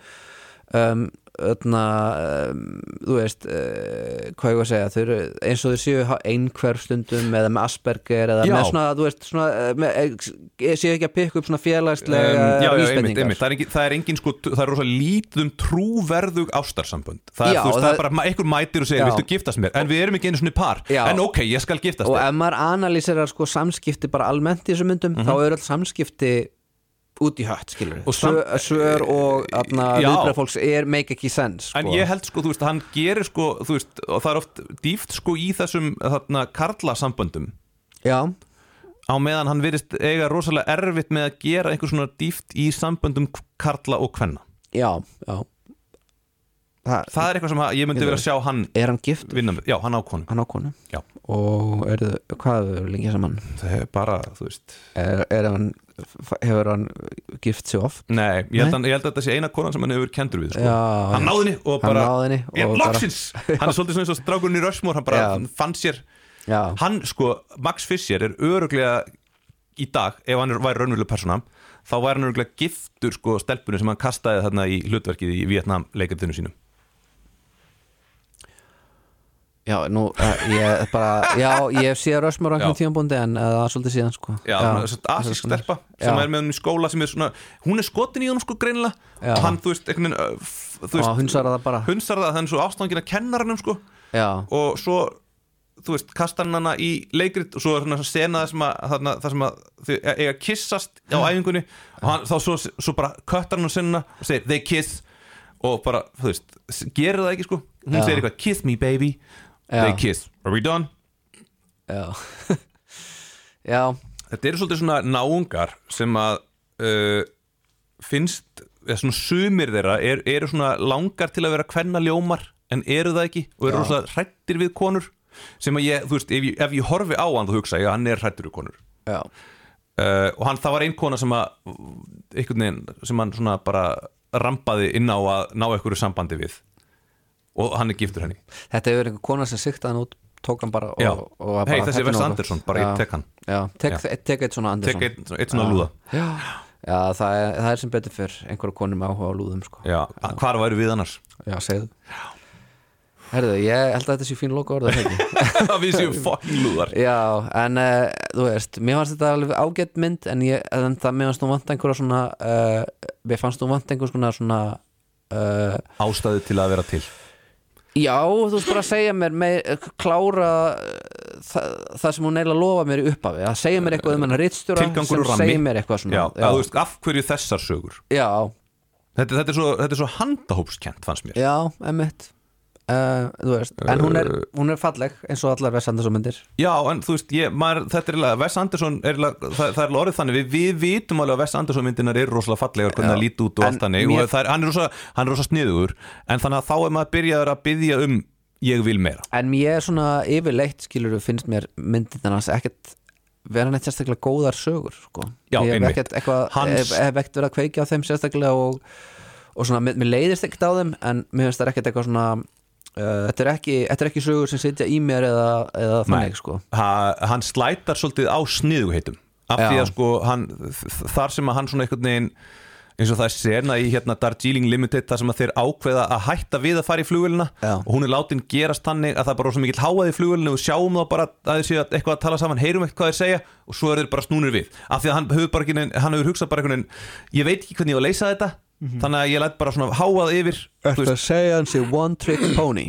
S3: um, öðna, um, þú veist uh, hvað ég var að segja, þau eru eins og þau séu ha- einhverf stundum eða með Asperger eða
S1: Já.
S3: með svona, þú veist, svona eh, með, eh, séu ekki að pikka upp svona
S1: Um,
S3: félagslega
S1: já, já, einmitt,
S3: vísbendingar.
S1: einmitt. Það, er engin, það er engin sko, það er rosa lítið um trúverðug ástarsambönd það er,
S3: Já,
S1: þú veist, það,
S3: það-
S1: er bara, ma- einhver mætir og segir,
S3: Já.
S1: viltu giftast mér en við erum ekki einu svona par,
S3: Já.
S1: en ok, ég skal giftast
S3: og
S1: þér
S3: ef maður analýsirar sko samskipti bara almennt í þessum myndum þá eru öll samskipti út í hött skilur
S1: Mhm. Og sam-
S3: Svö- svör og atna,
S1: Já.
S3: viðbröð fólks er make ekki sense sko.
S1: En ég held sko, þú veist, hann gerir sko, þú veist, og það er oft dýft sko í þessum þarna karlasamböndum
S3: já,
S1: á meðan hann virðist eiga rosalega erfitt með að gera einhver svona dýft í samböndum karla og kvenna
S3: já, já. Þa,
S1: það er eitthvað sem að- ég myndi
S3: Ég
S1: vilja sjá hann
S3: er hann gift
S1: vinna með, já hann á konum
S3: hann á konu
S1: Já.
S3: og er, hvað er lengi saman
S1: það er bara, þú veist
S3: er, er hann, hefur hann gift sig oft
S1: nei, ég held,
S3: Nei.
S1: Hann, ég held að þetta sé eina konan sem hann hefur kendur við sko.
S3: Já,
S1: hann
S3: já.
S1: náði henni og bara
S3: hann náði henni
S1: ég,
S3: og bara-
S1: loksins, hann er svolítið svona eins og strákurinn í Rushmore hann bara
S3: Já.
S1: fann sér
S3: já,
S1: hann sko, Max Fischer er öruglega í dag, ef hann er- væri raunverulega persóna þá væri hann öruglega giftur sko stelpunum sem hann kastaði þarna í hlutverkið í Vietnam leikandinu sínum
S3: já, nú, eh, ég bara já, ég sé rösmur á einhvern
S1: Já.
S3: tímanbúndi en eh, það er svolítið síðan sko
S1: Já, já svona asísk stelpa sem
S3: Já.
S1: er með hann í skóla sem er svona, hún er skotin í hann sko greinilega
S3: Já.
S1: og hann, þú veist, einhvern veginn uh, f- þú
S3: og
S1: veist,
S3: hann hundsar það bara
S1: hunsar það, þannig svo ástangin að kenna hann sko,
S3: já,
S1: og svo þú veist, kastar hann hana í leikrit og svo er hann að sena það sem að, þarna, það sem að þau e- eiga að kissast á æfingunni og hann, þá svo, svo bara köttar hann og senna og segir, they kiss og bara, þú veist, s- gerir það ekki sko hún
S3: Já.
S1: segir eitthvað, kiss me baby
S3: Já.
S1: they kiss, are we done?
S3: já já,
S1: Þetta eru svolítið svona náungar sem að uh, finnst, eða svona sumir þeirra er, eru svona langar til að vera kvenna ljómar en eru það ekki og eru rosa hrættir við konur sem að ég, þú veist, ef ég, ef ég horfi á hann þá hugsa ég að hann er hrættur við konur
S3: já,
S1: uh, og hann, það var ein kona sem að einhvern veginn, sem hann svona bara rampaði inn á að ná einhverju sambandi við og hann er giftur henni
S3: þetta hefur einhver kona sem sikta hann út tók hann bara og,
S1: Já.
S3: og var bara
S1: Hey, þessi
S3: heppin
S1: Wes
S3: og-
S1: Anderson, bara ég
S3: Já.
S1: tek hann.
S3: já, tek,
S1: Já.
S3: tek eitt svona Anderson
S1: tek eitt, eitt svona
S3: Já.
S1: lúða
S3: já, já það, er, það er sem betur fyrr einhverju konum áhuga á lúðum sko
S1: Já, hvar væru við annars?
S3: já segðu Herðu, ég held að þetta sé fín loka orða ekki
S1: að við séum fucking lúðar
S3: Já, en uh, þú veist, mér fannst þetta alveg ágætt mynd en, ég, en það mér fannst nú vant einhverja svona uh, mér fannst nú vant einhvers konar svona uh,
S1: ástæðu til að vera til
S3: Já, þú veist bara að segja mér með, eh, klára uh, það, það sem hún eiginlega lofa mér í upphafi að segja mér eitthvað um hennar rittstjóra
S1: tilgangur
S3: sem
S1: og rammi
S3: segir mér eitthvað svona
S1: já, Að, þú veist, af hverju þessar sögur
S3: já,
S1: þetta, þetta, er, svo, þetta er svo handahópskent fannst mér
S3: já emmitt uh, þú veist, en hún er,
S1: Eh.
S3: hún er falleg eins og allar Vessandarsson myndir
S1: já, en þú veist, ég, maður, þetta er eiginlega- Wes Anderson er, eiginlega- það, það er alveg orðið þannig við, við vitum alveg að Wes Anderson myndinar eru rosalega fallegar hvernig það líti út og
S3: En
S1: allt þannig
S3: mér-
S1: og það er, hann, er rosa, hann er rosa sniður en þannig að þá er maður byrjaður að byggja um ég vil meira
S3: en mér svona yfirleitt skilur finnst mér myndirna hans ekkert vera neitt sérstaklega góðar sögur sko.
S1: Já,
S3: ég hef
S1: einmitt.
S3: ekkert eitthvað
S1: Hans-
S3: hef, hef ekkert verið að kveikja á þeim sérstaklega og, og svona, mér, mér leiðist ekkert á þeim en mér finnst það ekkert eitthvað svona uh, þetta, er ekki, þetta er ekki sögur sem sitja í mér eða, eða
S1: Nei.
S3: þannig sko.
S1: ha, hann slætar svolítið á sniðuheitum af
S3: Já.
S1: því að sko hann, þ- þar sem að hann svona einhvern veginn eins og það er sena í hérna Darjeeling Limited þar sem að þeir ákveða að hætta við að fara í flugvélina
S3: Já.
S1: og hún er látin gerast þannig að það er bara svo mikill háað í flugvélina og við sjáum þá bara að þeir séu að eitthvað að tala saman heyrum eitthvað hvað þeir segja og svo eru þeir bara snúnir við af því að hann hefur, bara, ekki neinn- hann hefur hugsað bara einhvern veginn ég veit ekki hvernig ég á að leysa þetta þannig að ég læt bara svona háað yfir þú
S3: Mhm. Ertu að segja hans í One Trick Pony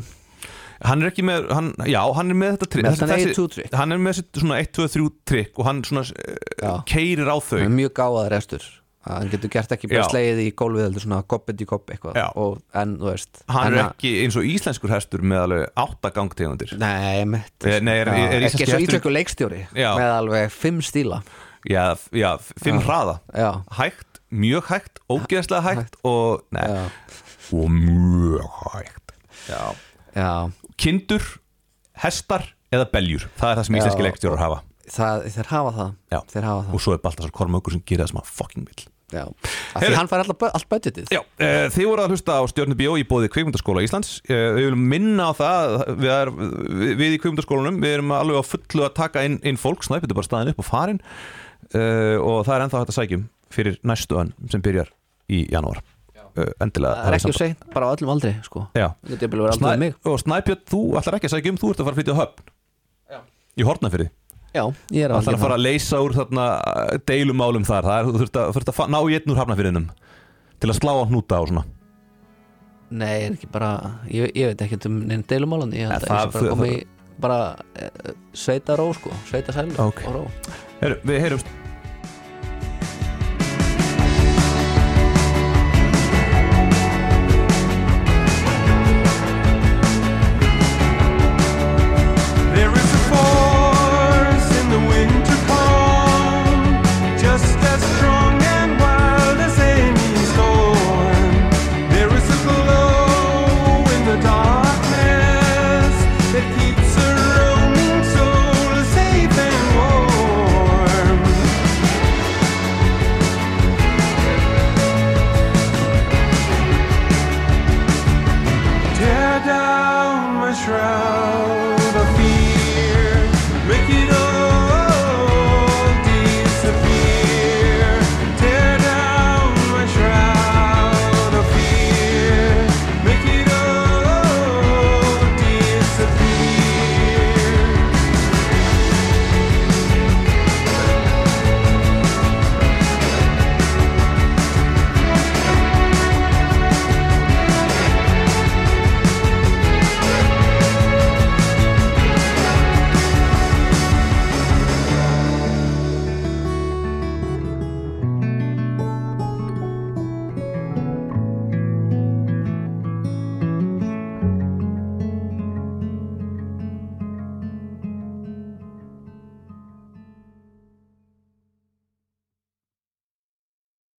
S1: hann er ekki með, hann, já, hann er með þetta trikk
S3: Með þetta 1-2 trikk.
S1: hann er með þessi svona 1, 2, 3 trikk og hann svona
S3: Já.
S1: uh, keirir á þau
S3: hann er mjög gáðar eftir hann getur gert ekki bara
S1: Já.
S3: slegið í gólfið heldur svona goppet í gopp eitthvað
S1: Já.
S3: og, en þú veist
S1: hann
S3: en
S1: er
S3: að-
S1: ekki eins og íslenskur hestur með alveg 8 gangtegundir
S3: Nei, mitt
S1: Eh, nei, er-
S3: Já,
S1: er íslenski
S3: Ekki svo
S1: hesturinn-
S3: ítlöku leikstjóri
S1: Já.
S3: Með alveg fimm stíla
S1: já, f- já, 5 hraða
S3: Já,
S1: hægt, mjög hægt, ógeðslega hægt og, nei,
S3: já,
S1: og mjög hægt já.
S3: já.
S1: kindur, hestar eða beljur, það er það sem
S3: Já.
S1: íslenski leikstjórar hafa
S3: Það, Þeir hafa það
S1: Já.
S3: Þeir hafa það
S1: og svo er Baltasar Kormökur sem gerir það sem hann fucking vill
S3: Já Af
S1: Heyrðu.
S3: Því hann fær alltaf, allt budgetið
S1: Já, e, þið voru að hlusta á Stjörnubjó í bóði Kvikmyndaskóla Íslands e, Við viljum minna á það við, er, við, við í Kvikmyndaskólanum, við erum alveg á fullu að taka inn, inn fólk, snæpið er bara staðin upp og farin e, og það er ennþá hægt að sækjum fyrir næstu önn sem byrjar í janúar e, Endilega
S3: Það er
S1: hafið
S3: ekki að segja bara á öllum aldri sko.
S1: samband. Já.
S3: Þetta er bara að vera aldrei um
S1: Snæ,
S3: mig
S1: og Snæbjörn, þú ætlar ekki að sækja um, þú ert að fara að flytja á höfn Í horna fyrir
S3: Já, ég er
S1: Það
S3: aldrei um
S1: þarf að fara að leysa úr þarna eh, deilumálum þar, það er, þú þurft að, þurft að fa- ná í einn úr hafnafyrinum til að slá á hnúta og svona
S3: Nei, er ekki bara Ég, ég veit ekki um neina deilumálan Ég held
S1: Ja, það-
S3: að ég sé bara að koma
S1: það-
S3: í bara eh, sveita ró sko, sveita sælu
S1: Ok.
S3: og ró
S1: Heru, Við heyrumst